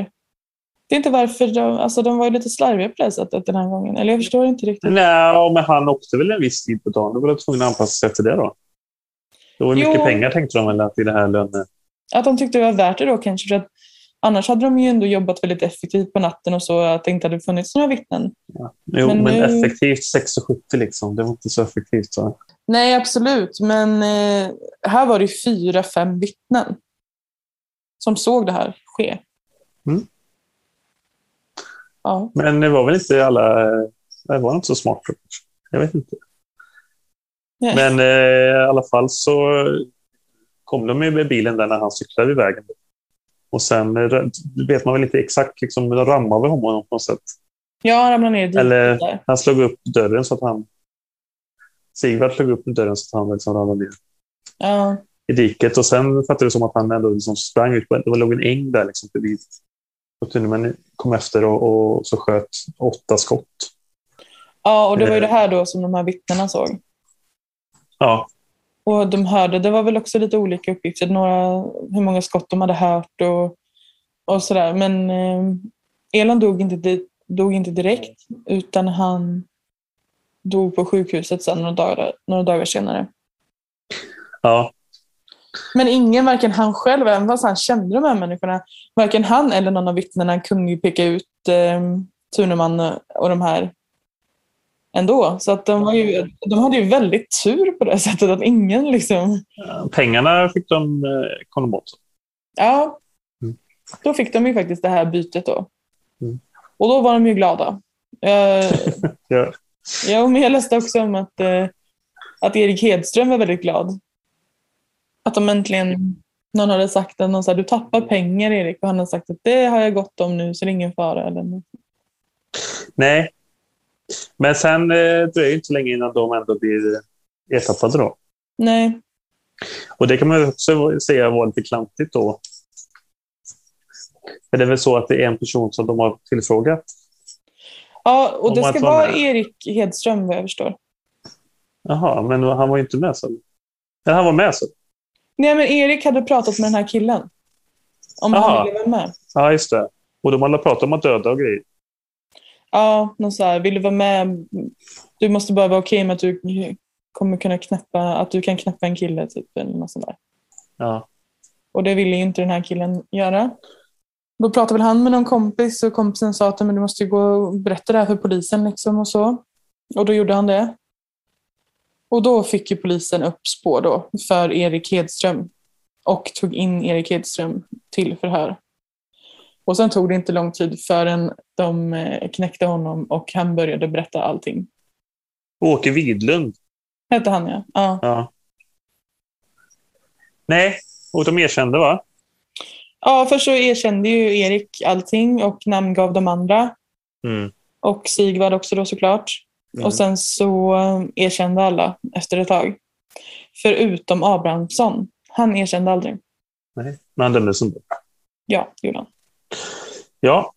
Speaker 1: det är inte varför de, alltså de var ju lite slarviga på det här sättet den här gången. Eller jag förstår inte riktigt.
Speaker 2: Nej, ja, men han åkte väl en viss tid på dagen. Då var de tvungna att anpassa sig efter det då. Det var ju
Speaker 1: Jo.
Speaker 2: mycket pengar tänkte de väl att i det här löne...
Speaker 1: Att de tyckte det var värt det då kanske, för att annars hade de ju ändå jobbat väldigt effektivt på natten och så, att det inte hade funnits några vittnen.
Speaker 2: Jo, men,
Speaker 1: Men nu-
Speaker 2: effektivt 6,70 liksom. Det var inte så effektivt. Så.
Speaker 1: Nej, absolut. Men eh, här var det fyra, fem vittnen som såg det här ske.
Speaker 2: Mm.
Speaker 1: Ja.
Speaker 2: Men det var väl inte alla... eh, Det var inte så smart. Jag vet inte.
Speaker 1: Nej.
Speaker 2: Men eh, i alla fall så kom de ju med bilen där när han cyklade i vägen. Och sen eh, vet man väl inte exakt, liksom, de rammade väl honom på något sätt.
Speaker 1: Ja, han ramlade ner i diket
Speaker 2: Eller-
Speaker 1: där.
Speaker 2: Han slog upp dörren så att han... Sigvard slog upp dörren så att han liksom ramlade ner
Speaker 1: Ja.
Speaker 2: i diket. Och sen fattade det som att han ändå liksom sprang ut. på- Det låg en äng där liksom bredvid. Och Thunman kom efter och, och så sköt åtta skott.
Speaker 1: ja, och det var ju
Speaker 2: Eh.
Speaker 1: det här då som de här vittnena såg.
Speaker 2: Ja,
Speaker 1: Och de hörde, det var väl också lite olika uppgifter, några, hur många skott de hade hört och, och sådär. Men eh, Elon dog inte, di- dog inte direkt, utan han dog på sjukhuset sen några dagar, några dagar senare.
Speaker 2: ja.
Speaker 1: Men ingen, varken han själv, även fast han kände de här människorna, varken han eller någon av vittnena kunde ju peka ut eh, Thuneman och de här ändå. Så att de, var ju, de hade ju väldigt tur på det sättet att ingen liksom...
Speaker 2: Pengarna fick de, eh, kom de åt.
Speaker 1: Ja,
Speaker 2: Mm.
Speaker 1: då fick de ju faktiskt det här bytet då.
Speaker 2: Mm.
Speaker 1: Och då var de ju glada. Eh,
Speaker 2: Ja.
Speaker 1: Ja, men jag läste också om att, eh, att Erik Hedström var väldigt glad. Att de äntligen, någon hade sagt att någon sa, du tappar pengar Erik. Och han hade sagt att det har jag gått om nu så det är ingen fara. Eller något.
Speaker 2: Nej. Men sen eh, dröjer det inte så länge innan de ändå blir ertappade. Då.
Speaker 1: Nej,
Speaker 2: Och det kan man ju också säga var lite klantigt då. För det är väl så att det är en person som de har tillfrågat.
Speaker 1: ja, och
Speaker 2: Om
Speaker 1: det
Speaker 2: man
Speaker 1: ska
Speaker 2: tar
Speaker 1: vara
Speaker 2: med-
Speaker 1: Erik Hedström vad jag förstår.
Speaker 2: Jaha, men han var ju inte med sen. Eller han var med sen.
Speaker 1: Nej, men Erik hade pratat med den här killen. Om
Speaker 2: Jaha.
Speaker 1: han ville vara med.
Speaker 2: Ja, just det. Och de alla pratat om att döda och grejer.
Speaker 1: Ja, någon så här, vill du vara med? Du måste bara vara okej med att du kommer kunna knäppa, att du kan knäppa en kille typ. Eller något sånt där.
Speaker 2: Ja.
Speaker 1: Och det ville ju inte den här killen göra. Då pratade väl han med någon kompis och kompisen sa att men du måste ju gå och berätta det här för polisen. Liksom och så. Och då gjorde han det. Och då fick ju polisen upp spår då för Erik Hedström och tog in Erik Hedström till förhör. Och sen tog det inte lång tid förrän de eh, knäckte honom och han började berätta allting.
Speaker 2: Åke Widlund.
Speaker 1: Hette han ja. ja.
Speaker 2: Ja. Nej, och de erkände va?
Speaker 1: Ja, först så erkände ju Erik allting och namngav de andra.
Speaker 2: Mm.
Speaker 1: Och Sigvard också då såklart.
Speaker 2: Mm.
Speaker 1: Och sen så eh, erkände alla efter ett tag. Förutom Abrahamsson. Han erkände aldrig.
Speaker 2: Men han dömdes ändå.
Speaker 1: Ja, det gjorde han.
Speaker 2: Ja.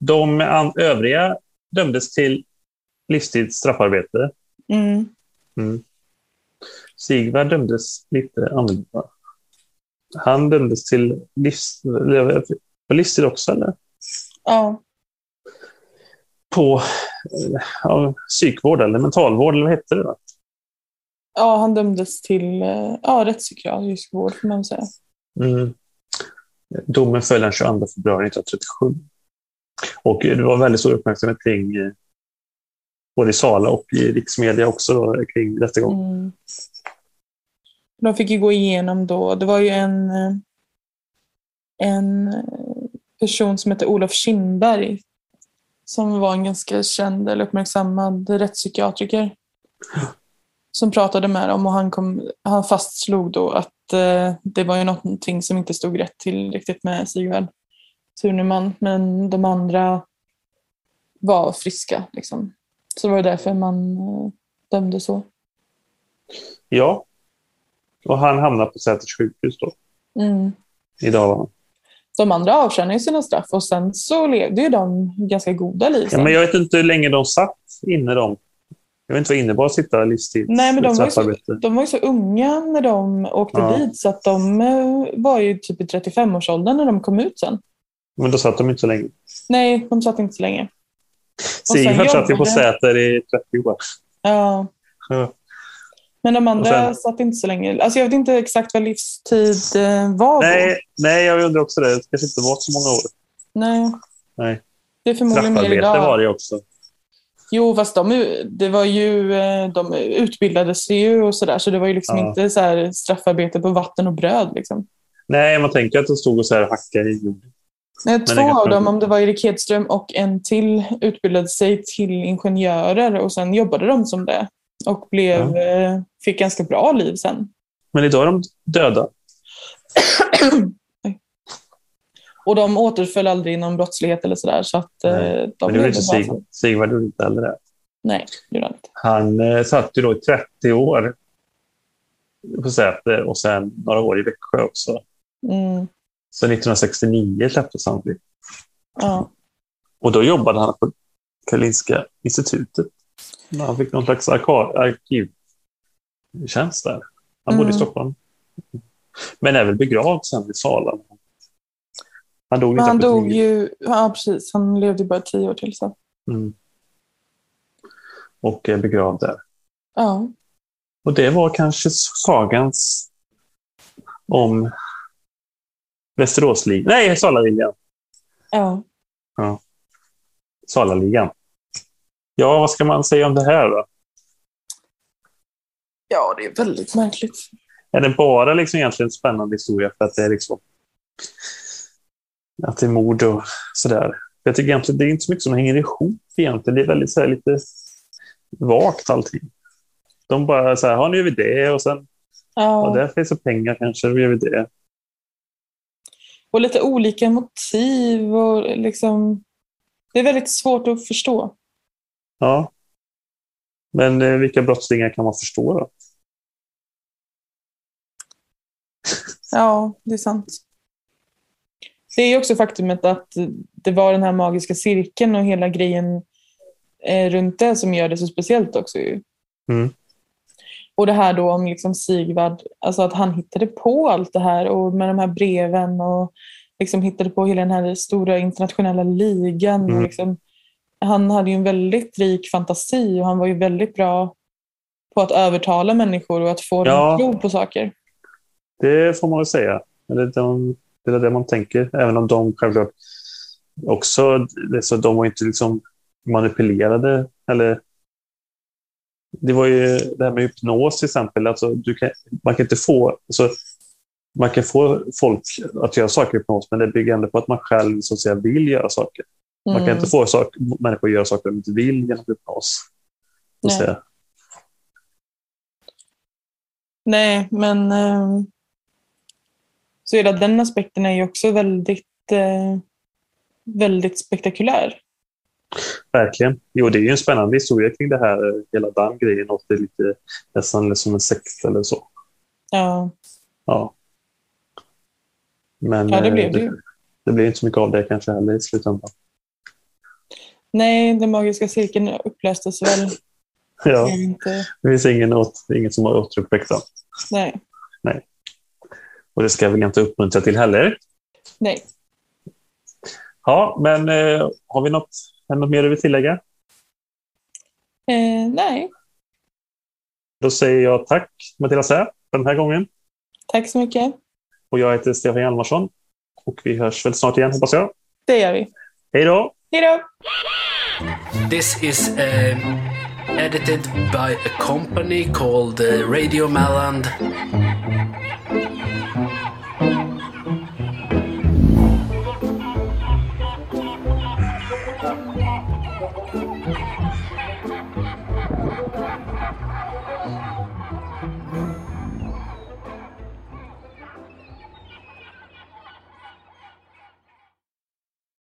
Speaker 2: De an- övriga dömdes till livstids straffarbete.
Speaker 1: Mm.
Speaker 2: Sigvard dömdes lite annorlunda. Han dömdes till livs... eller, Var livstid också, eller?
Speaker 1: Ja.
Speaker 2: På eh, ja, psykvård eller mentalvård, eller vad hette det? Då?
Speaker 1: ja, han dömdes till eh, ja, rättspsykiatrisk vård får man väl säga.
Speaker 2: Mm. Domen föll den 22 februari 1937. Och det var väldigt stor uppmärksamhet kring eh, både i Sala och i riksmedia också då, kring rättegången.
Speaker 1: Mm. De fick ju gå igenom då. Det var ju en, eh, en eh, person som hette Olof Kindberg som var en ganska känd eller uppmärksammad rättspsykiatriker som pratade med dem och han, kom, han fastslog då att eh, det var ju någonting som inte stod rätt till riktigt med Sigvard Thuneman men de andra var friska. Liksom. Så det var ju därför man eh, dömde så.
Speaker 2: Ja. Och han hamnade på Säters sjukhus då.
Speaker 1: Mm.
Speaker 2: Idag var han.
Speaker 1: De andra avtjänar ju sina straff och sen så levde ju de ganska goda liv.
Speaker 2: Ja,
Speaker 1: sen.
Speaker 2: men jag vet inte hur länge de satt inne. De. Jag vet inte vad det innebar att sitta livstids
Speaker 1: Nej, men de var ju så-
Speaker 2: straffarbete.
Speaker 1: De var ju så unga när de åkte
Speaker 2: Ja.
Speaker 1: dit så att de eh, var ju typ i 35-årsåldern när de kom ut sen.
Speaker 2: Men då satt de inte så länge.
Speaker 1: Nej, de satt inte så länge. sen
Speaker 2: Sigvard satt ju på
Speaker 1: jobbade-
Speaker 2: Säter i 30 år.
Speaker 1: Ja.
Speaker 2: Ja.
Speaker 1: Men de andra
Speaker 2: sen-
Speaker 1: satt inte så länge. Alltså jag vet inte exakt vad livstid eh, var då.
Speaker 2: Nej, nej, jag undrar också det. Det kanske inte var så många år.
Speaker 1: Nej.
Speaker 2: Nej.
Speaker 1: Det är förmodligen mer
Speaker 2: Straffarbete
Speaker 1: idag.
Speaker 2: var det också.
Speaker 1: Jo, fast de, är- det var ju, eh, de utbildades ju och sådär så det var ju liksom
Speaker 2: Ja.
Speaker 1: inte så här straffarbete på vatten och bröd. Liksom.
Speaker 2: Nej, man tänker att de stod och så här hackade i jorden.
Speaker 1: Nej,
Speaker 2: det är
Speaker 1: två
Speaker 2: inga
Speaker 1: av dem,
Speaker 2: problem.
Speaker 1: om det var Erik Hedström och en till, utbildade sig till ingenjörer och sen jobbade de som det. Och blev, eh, fick ganska bra liv sen.
Speaker 2: Men idag är de döda.
Speaker 1: Och de återföll aldrig i någon brottslighet eller sådär. Så att, eh,
Speaker 2: Nej,
Speaker 1: de
Speaker 2: Men det gjorde
Speaker 1: levde
Speaker 2: inte
Speaker 1: bra
Speaker 2: Sigvard.
Speaker 1: sen.
Speaker 2: Sigvard gjorde inte heller det.
Speaker 1: Nej, det gjorde han inte.
Speaker 2: Han eh, satt ju då i 30 år på Säter och sen några år i Växjö också.
Speaker 1: Mm,
Speaker 2: Så 1969 släpptes han fri.
Speaker 1: ja.
Speaker 2: Och då jobbade han på Karolinska institutet. Ja, Han fick någon slags arka- arkivtjänst där. Han bodde
Speaker 1: Mm.
Speaker 2: i Stockholm. Men är väl begravd sen i Sala. Han dog
Speaker 1: Men han
Speaker 2: 1979.
Speaker 1: dog ju, ja precis, han levde ju bara tio år till sen.
Speaker 2: Mm. Och är begravd där.
Speaker 1: Ja,
Speaker 2: Och det var kanske sagans om Västeråsligan. Nej, Salaligan.
Speaker 1: Ja.
Speaker 2: Salaligan. Ja, vad ska man säga om det här då?
Speaker 1: ja, det är väldigt märkligt.
Speaker 2: Är det bara liksom egentligen en spännande historia för att det är liksom att det är mord och sådär? Jag tycker egentligen det är inte så mycket som hänger ihop egentligen. Det är väldigt så här, lite vagt allting. De bara så här, ja nu gör vi det och sen, ja
Speaker 1: Ja.
Speaker 2: där finns det pengar kanske, då gör vi det.
Speaker 1: Och lite olika motiv och liksom... Det är väldigt svårt att förstå.
Speaker 2: Ja. Men eh, vilka brottslingar kan man förstå då?
Speaker 1: Ja, det är sant. Det är ju också faktumet att det var den här magiska cirkeln och hela grejen eh, runt det som gör det så speciellt också. Ju.
Speaker 2: Mm.
Speaker 1: Och det här då om liksom Sigvard, alltså att han hittade på allt det här och med de här breven och liksom hittade på hela den här stora internationella ligan.
Speaker 2: Mm.
Speaker 1: Och liksom, han hade ju en väldigt rik fantasi och han var ju väldigt bra på att övertala människor och att få dem
Speaker 2: Ja.
Speaker 1: att tro på saker.
Speaker 2: Det får man väl säga. Eller de, det är det man tänker. Även om de självklart också, det är så de var ju inte liksom manipulerade. Eller, det var ju det här med hypnos till exempel. Alltså, du kan, man kan inte få... Alltså, man kan få folk att göra saker i hypnos, men det bygger ändå på att man själv så att säga, vill göra saker. Man kan
Speaker 1: Mm.
Speaker 2: inte få sak, människor att göra saker de inte vill genom hypnos. Så att
Speaker 1: Nej.
Speaker 2: säga.
Speaker 1: Nej, men ehm, så hela den aspekten är ju också väldigt, eh, väldigt spektakulär.
Speaker 2: Verkligen. Jo, det är ju en spännande historia kring det här, eh, hela den grejen. Och det är lite nästan som en sekt eller så.
Speaker 1: Ja,
Speaker 2: Ja. Men
Speaker 1: ja det
Speaker 2: eh,
Speaker 1: blev det ju.
Speaker 2: det blir inte så mycket av det kanske heller i slutändan.
Speaker 1: Nej, den magiska cirkeln upplöstes väl.
Speaker 2: Ja,
Speaker 1: Det är Inte,
Speaker 2: det finns ingen, åt- ingen som har återuppväckt den.
Speaker 1: nej,
Speaker 2: Och det ska vi inte uppmuntra till heller.
Speaker 1: nej.
Speaker 2: Ja, men eh, har vi något, är det något mer du vill tillägga?
Speaker 1: Eh, nej,
Speaker 2: Då säger jag tack Matilda Sä för den här gången.
Speaker 1: tack så mycket.
Speaker 2: Och jag heter Stefan Hjalmarsson. Och vi hörs väl snart igen hoppas jag.
Speaker 1: Det gör vi.
Speaker 2: Hej då!
Speaker 1: Hej då!
Speaker 4: This is um, edited by a company called uh, Radio Maland.
Speaker 5: Thank you.